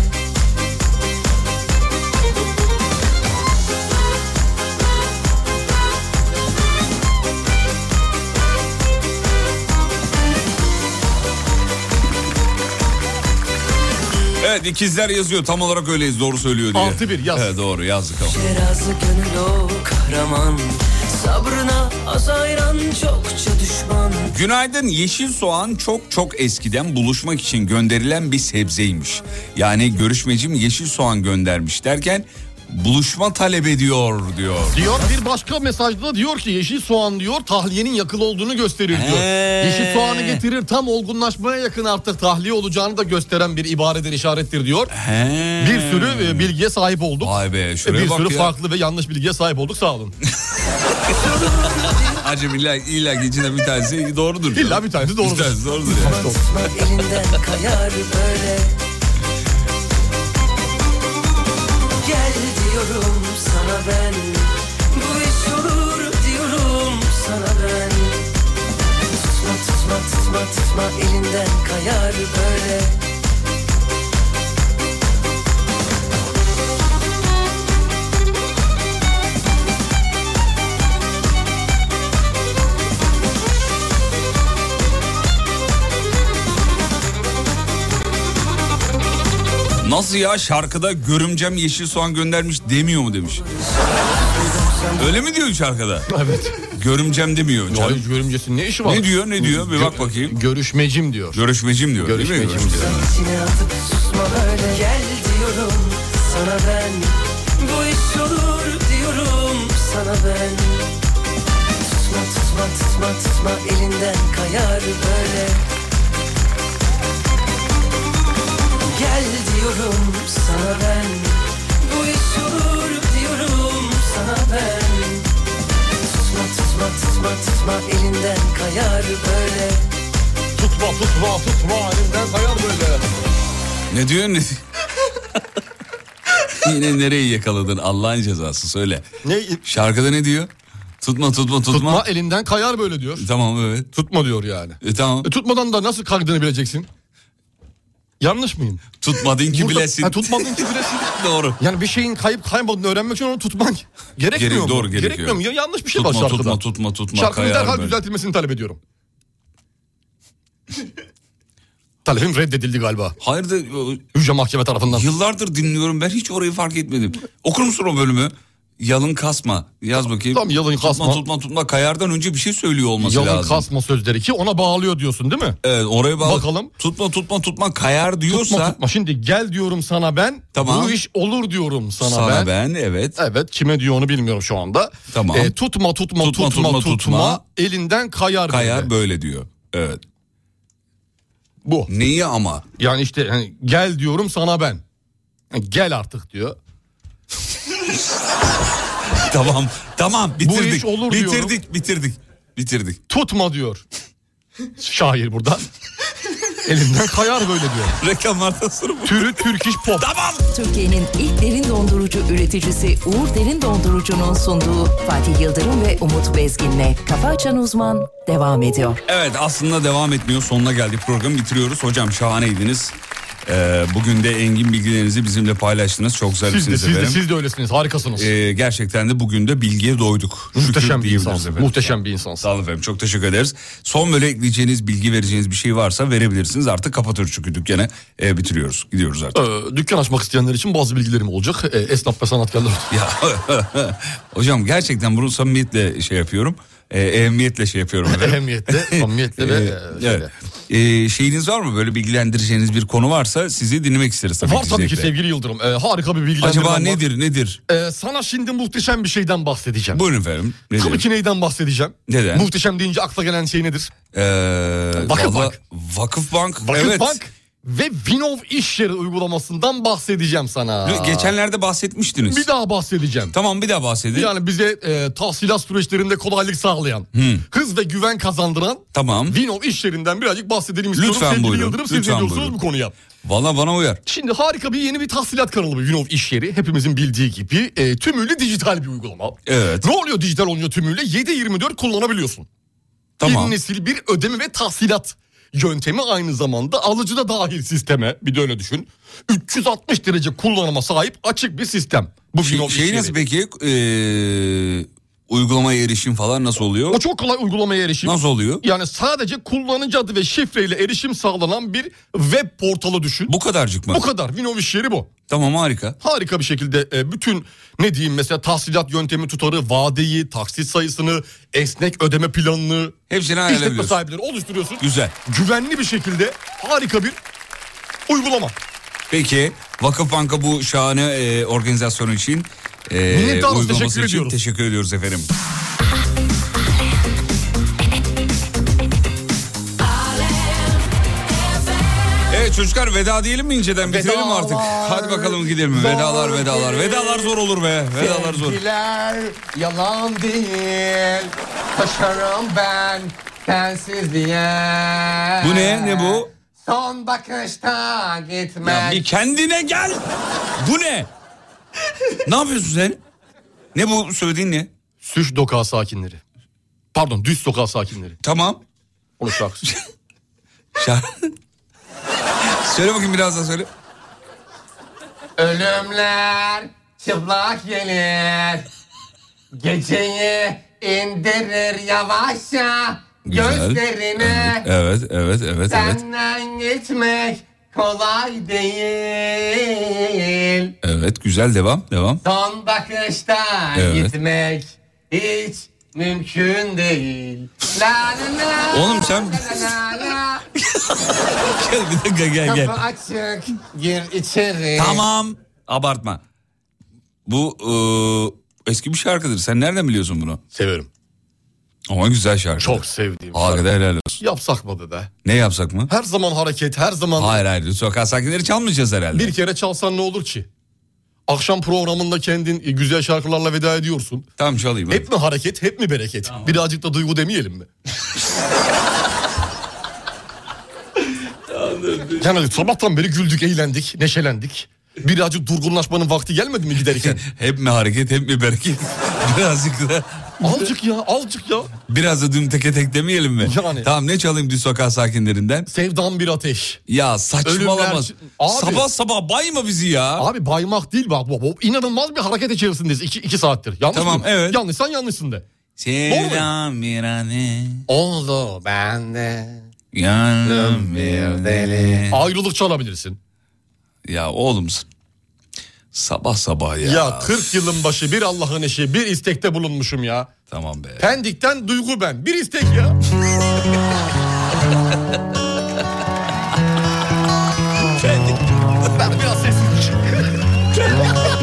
C: Evet ikizler yazıyor tam olarak öyleyiz doğru söylüyor diye. 6-1 yaz. Evet doğru yazdık ama.
F: Şerazı gönül o kahraman Sabrına az ayran çokça düşman
C: Günaydın. Yeşil soğan çok çok eskiden buluşmak için gönderilen bir sebzeymiş. Yani görüşmecim yeşil soğan göndermiş derken buluşma talep ediyor diyor.
D: Diyor bir başka mesajda diyor ki yeşil soğan diyor tahliyenin yakılı olduğunu gösterir diyor.
C: He.
D: Yeşil soğanı getirir tam olgunlaşmaya yakın artık tahliye olacağını da gösteren bir ibaredir işarettir diyor. Bir sürü e, bilgiye sahip olduk. E,
C: Vay be şuraya
D: bir
C: bak
D: sürü
C: ya.
D: farklı ve yanlış bilgiye sahip olduk sağ olun.
C: Hacı illa, illa ki içinde bir tanesi doğrudur. İlla
D: bir tanesi doğrudur.
C: Bir tanesi doğrudur yani.
F: elinden kayar böyle Gel diyorum sana ben Bu iş olur diyorum sana ben Tutma tutma tutma tutma elinden kayar böyle
C: Nasıl ya şarkıda görümcem yeşil soğan göndermiş demiyor mu demiş. Öyle mi diyor şarkıda?
D: Evet.
C: Görümcem demiyor.
D: Ay, görümcesinin ne işi var?
C: Ne diyor ne diyor bir bak bakayım.
D: Görüşmecim diyor.
C: Görüşmecim diyor değil mi?
D: Görüşmecim diyor.
F: İçine atıp susma böyle Gel diyorum sana ben Bu iş olur diyorum sana ben Tutma tutma tutma tutma elinden kayar böyle Gel diyorum sana ben Bu iş olur diyorum sana ben Tutma tutma tutma tutma elinden kayar böyle
D: Tutma tutma tutma elimden kayar böyle.
C: Ne diyor ne Yine nereyi yakaladın Allah'ın cezası söyle.
D: Ne?
C: Şarkıda ne diyor? Tutma tutma tutma.
D: Tutma elinden kayar böyle diyor.
C: Tamam evet.
D: Tutma diyor yani.
C: E tamam.
D: E, tutmadan da nasıl kaydığını bileceksin? Yanlış mıyım?
C: Tutmadın ki
D: Burada-
C: bilesin.
D: Ha, tutmadın ki bilesin.
C: Doğru.
D: Yani bir şeyin kayıp kaybolduğunu öğrenmek için onu tutman gerekmiyor
C: Gerek-
D: mu?
C: doğru, gerekiyor.
D: Gerekmiyor mu? Ya yanlış bir şey var
C: Tutma,
D: şarkıda.
C: tutma, tutma, tutma,
D: Şarkının
C: kayar
D: derhal
C: böyle.
D: düzeltilmesini talep ediyorum. Talebim reddedildi galiba.
C: Hayır da
D: Yüce Mahkeme tarafından.
C: Yıllardır dinliyorum ben hiç orayı fark etmedim. Okur musun o bölümü? Yalın kasma. Yaz bakayım.
D: Tam yalın kasma.
C: Tutma tutma tutma kayardan önce bir şey söylüyor olması
D: Yalın
C: lazım.
D: kasma sözleri ki ona bağlıyor diyorsun değil mi?
C: Evet oraya bağlı.
D: Bakalım.
C: Tutma tutma tutma kayar diyorsa.
D: Tutma tutma. Şimdi gel diyorum sana ben.
C: Tamam.
D: Bu iş olur diyorum sana,
C: Sana
D: ben.
C: ben, evet.
D: Evet kime diyor onu bilmiyorum şu anda.
C: Tamam.
D: Ee, tutma, tutma, tutma,
C: Tutma,
D: tutma,
C: tutma, tutma.
D: Elinden kayar.
C: Kayar
D: böyle.
C: böyle diyor. Evet.
D: Bu.
C: Neyi ama?
D: Yani işte hani, gel diyorum sana ben. Yani gel artık diyor.
C: tamam tamam bitirdik.
D: iş olur
C: bitirdik,
D: diyorum.
C: bitirdik bitirdik bitirdik.
D: Tutma diyor. Şair burada. Elinden kayar böyle diyor.
C: Reklamlardan sonra bu.
D: Türü Türk iş pop.
A: Türkiye'nin ilk derin dondurucu üreticisi Uğur Derin Dondurucu'nun sunduğu Fatih Yıldırım ve Umut Bezgin'le Kafa Açan Uzman devam ediyor.
C: Evet aslında devam etmiyor sonuna geldik programı bitiriyoruz. Hocam şahaneydiniz. Ee, bugün de engin bilgilerinizi bizimle paylaştınız. Çok
D: Siz de,
C: zarifsiniz
D: siz de,
C: efendim.
D: siz de öylesiniz. Harikasınız.
C: Ee, gerçekten de bugün de bilgiye doyduk.
D: Muhteşem bir
C: diyebiliriz
D: insansın,
C: efendim.
D: muhteşem bir insansın.
C: Sağ olun efendim çok teşekkür ederiz. Son böyle ekleyeceğiniz bilgi vereceğiniz bir şey varsa verebilirsiniz. Artık kapatıyoruz çünkü dükkanı Ee, bitiriyoruz. Gidiyoruz artık.
D: Ee, dükkan açmak isteyenler için bazı bilgilerim olacak. Ee, esnaf ve sanatkarlar.
C: Ya
D: Öh.
C: hocam gerçekten bunu samimiyetle şey yapıyorum. Ee, ehemmiyetle şey yapıyorum. efendim.
D: Ehemmiyetle, samimiyetle ve...
C: Ee,
D: e, şeyle.
C: evet. Ee, şeyiniz var mı böyle bilgilendireceğiniz bir konu varsa sizi dinlemek isteriz tabii
D: Var tabii ki
C: zevkle.
D: sevgili Yıldırım. Ee, harika bir bilgilendirme
C: Acaba
D: var.
C: nedir nedir?
D: Ee, sana şimdi muhteşem bir şeyden bahsedeceğim.
C: Buyurun efendim. Nedir?
D: Tabii ki neyden bahsedeceğim?
C: Neden?
D: Muhteşem deyince akla gelen şey nedir?
C: Ee,
D: Vakıfbank.
C: valla- Vakıfbank.
D: Vakıf
C: evet.
D: Bank ve Vinov iş yeri uygulamasından bahsedeceğim sana.
C: Geçenlerde bahsetmiştiniz.
D: Bir daha bahsedeceğim.
C: Tamam bir daha bahsedin.
D: Yani bize e, tahsilat süreçlerinde kolaylık sağlayan, hız ve güven kazandıran
C: Tamam.
D: Vinov iş yerinden birazcık bahsedelim istiyorum.
C: Lütfen
D: Sevgili
C: buyurun,
D: Yıldırım siz
C: lütfen
D: ne diyorsunuz
C: buyurun.
D: bu konuya?
C: Valla bana uyar.
D: Şimdi harika bir yeni bir tahsilat kanalı bu Vinov iş yeri. Hepimizin bildiği gibi e, tümüyle dijital bir uygulama.
C: Evet.
D: Ne oluyor dijital olunca tümüyle? 7-24 kullanabiliyorsun.
C: Tamam.
D: Yeni nesil bir ödeme ve tahsilat yöntemi aynı zamanda alıcı da dahil sisteme bir de öyle düşün. 360 derece kullanıma sahip açık bir sistem. Bu
C: Şey-
D: Vinov
C: şey
D: işleri.
C: nasıl peki? Ee, Uygulamaya erişim falan nasıl oluyor?
D: O çok kolay uygulamaya erişim.
C: Nasıl oluyor?
D: Yani sadece kullanıcı adı ve şifreyle erişim sağlanan bir web portalı düşün.
C: Bu kadarcık mı?
D: Bu kadar. Vinov iş yeri bu.
C: Tamam harika.
D: Harika bir şekilde e, bütün ne diyeyim mesela tahsilat yöntemi tutarı, vadeyi, taksit sayısını, esnek ödeme planını.
C: Hepsini
D: İşletme
C: ayarlayabiliyorsun.
D: sahipleri oluşturuyorsun.
C: Güzel.
D: Güvenli bir şekilde harika bir uygulama.
C: Peki Vakıf Banka bu şahane e, organizasyon için e,
D: Minnettarız,
C: uygulaması
D: teşekkür
C: için
D: ediyoruz.
C: teşekkür ediyoruz efendim. Evet çocuklar veda diyelim mi inceden bitirelim mi artık. Hadi bakalım gidelim. Vedalar vedalar. Vedalar zor olur be. Vedalar zor.
M: Sevgiler yalan değil. Taşarım ben sensiz diye.
C: Bu ne? Ne bu?
M: Son bakışta gitme.
C: Ya bir kendine gel. Bu ne? ne yapıyorsun sen? Ne bu söylediğin ne?
D: Süş dokağı sakinleri. Pardon düz sokağı sakinleri.
C: Tamam.
D: Onu şarkısı.
C: söyle bakayım biraz daha söyle.
M: Ölümler çıplak gelir. Geceyi indirir yavaşça
C: Güzel.
M: gözlerine.
C: Evet, evet, evet, evet.
M: Senden geçmek kolay değil.
C: Evet, güzel devam, devam.
M: Son bakışta
C: Evet.
M: gitmek hiç mümkün değil. La la la.
C: Oğlum sen-
M: La la la.
C: gel bir dakika gel gel.
M: Kapı açık gir içeri.
C: Tamam. Abartma. Bu e, eski bir şarkıdır. Sen nereden biliyorsun bunu?
D: Severim.
C: Ama güzel şarkı. Çok
D: sevdiğim.
C: Hakikaten helal olsun.
D: Yapsak mı be?
C: Ne yapsak mı?
D: Her zaman hareket, her zaman...
C: Hayır hayır. Sokak sakinleri çalmayacağız herhalde.
D: Bir kere çalsan ne olur ki? Akşam programında kendin e, güzel şarkılarla veda ediyorsun.
C: Tamam çalayım.
D: Hep mi hareket, hep mi bereket? Birazcık da duygu demeyelim mi? yani sabahtan beri güldük, eğlendik, neşelendik. Birazcık durgunlaşmanın vakti gelmedi mi giderken?
C: Hep mi hareket hep mi bereket? Birazcık da...
D: Azıcık ya, azıcık ya.
C: Biraz da düm teke tek demeyelim mi?
D: Yani.
C: Tamam ne çalayım düz sokak sakinlerinden?
D: Sevdan bir ateş.
C: Ya saçmalamaz.
D: Ölümler- Abi-
C: Sabah sabah bayma bizi ya.
D: Abi baymak değil bak bu, bu inanılmaz bir hareket içerisindeyiz iki, iki saattir. Yanlış
C: Tamam,
D: mı?
C: evet.
D: Yanlışsan yanlışsın de.
C: Sevdan bir anı.
M: Oldu bende.
C: Yanım bir deli.
D: Ayrılık çalabilirsin.
C: Ya oğlum s- sabah sabah ya.
D: Ya, 40 yılın başı bir Allah'ın eşi bir istekte bulunmuşum ya.
C: Tamam be.
D: Pendik'ten Duygu ben. Bir istek ya. Pendik. Ben biraz sesimi çık-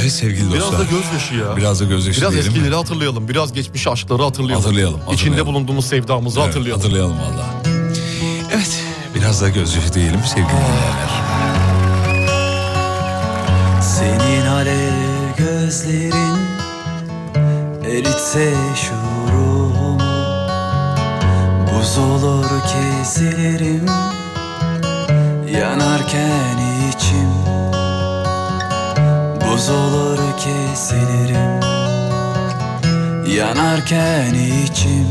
C: Evet sevgili
D: Biraz
C: dostlar.
D: da gözyaşı ya.
C: Biraz da gözyaşı
D: Biraz
C: diyelim.
D: eskileri hatırlayalım. Biraz geçmiş aşkları hatırlayalım.
C: Hatırlayalım,
D: İçinde
C: hatırlayalım.
D: bulunduğumuz sevdamızı
C: Evet,
D: hatırlayalım.
C: Hatırlayalım valla. Evet biraz da gözyaşı diyelim sevgili dinleyenler.
O: Senin alev gözlerin eritse şuurumu Buz olur kesilirim yanarken içim Buz olur kesilirim yanarken içim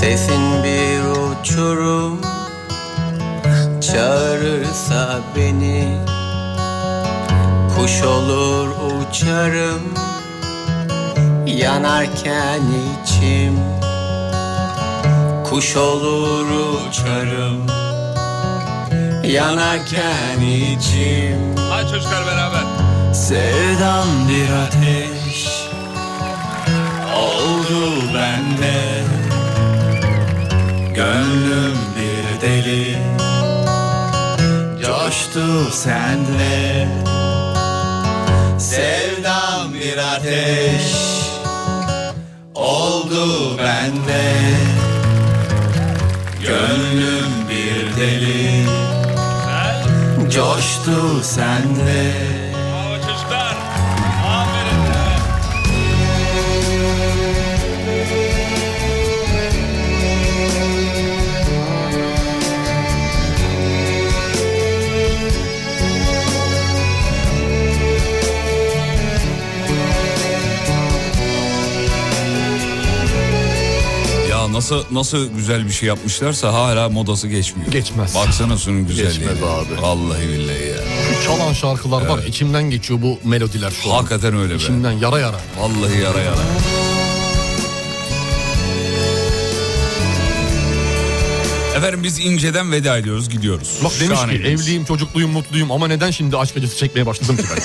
P: Sesin bir uçurum çağırırsa beni Kuş olur uçarım yanarken içim Kuş olur uçarım yanarken içim
C: Hadi çocuklar beraber
O: Sevdam bir ateş Oldu bende Gönlüm bir deli Coştu senle Sevdam bir ateş Oldu bende Gönlüm bir deli Coştu sende Bravo çocuklar Aferin
C: nasıl nasıl güzel bir şey yapmışlarsa hala modası geçmiyor. Geçmez. Baksana şunun güzelliği. Geçmez abi. Vallahi billahi ya.
D: Şu çalan şarkılar var içimden geçiyor bu melodiler şu an.
C: Hakikaten öyle be.
D: İçimden yara yara.
C: Vallahi yara yara. Efendim biz inceden veda ediyoruz gidiyoruz.
D: Bak demiş ki
C: Şahaneydiniz.
D: evliyim çocukluyum mutluyum ama neden şimdi aşk acısı çekmeye başladım ki ben?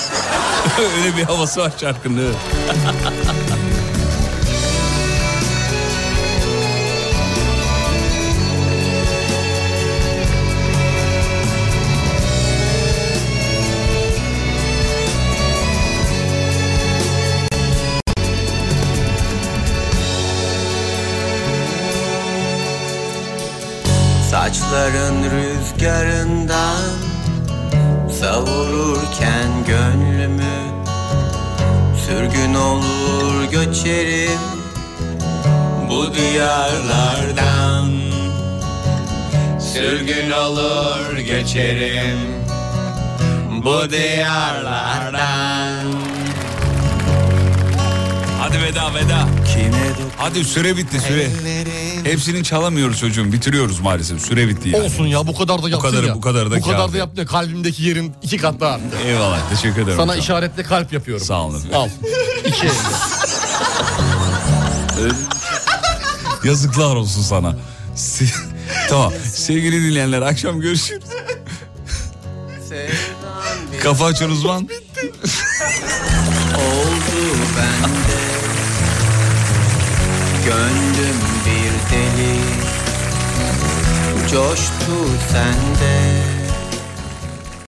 C: Öyle bir havası var şarkının. evet.
P: Saçların rüzgarından Savururken gönlümü Sürgün olur göçerim Bu diyarlardan Sürgün olur göçerim Bu diyarlardan
C: Hadi veda veda. Hadi süre bitti süre. Hepsini çalamıyoruz çocuğum bitiriyoruz maalesef süre bitti yani.
D: Olsun ya bu kadar da
C: Bu
D: yaptın
C: kadarı-
D: ya.
C: bu kadarı da
D: Bu kadar
C: kâfi.
D: da yaptın ya. kalbimdeki yerin iki kat daha arttı.
C: Eyvallah teşekkür ederim.
D: Sana
C: Sağ-
D: işaretle kalp yapıyorum.
C: Sağ olun.
D: Al. İki elle.
C: Yazıklar olsun sana. Se- tamam sevgili dinleyenler akşam görüşürüz. Kafa açan uzman.
P: oldu bende Gönlüm bir deli Coştu sende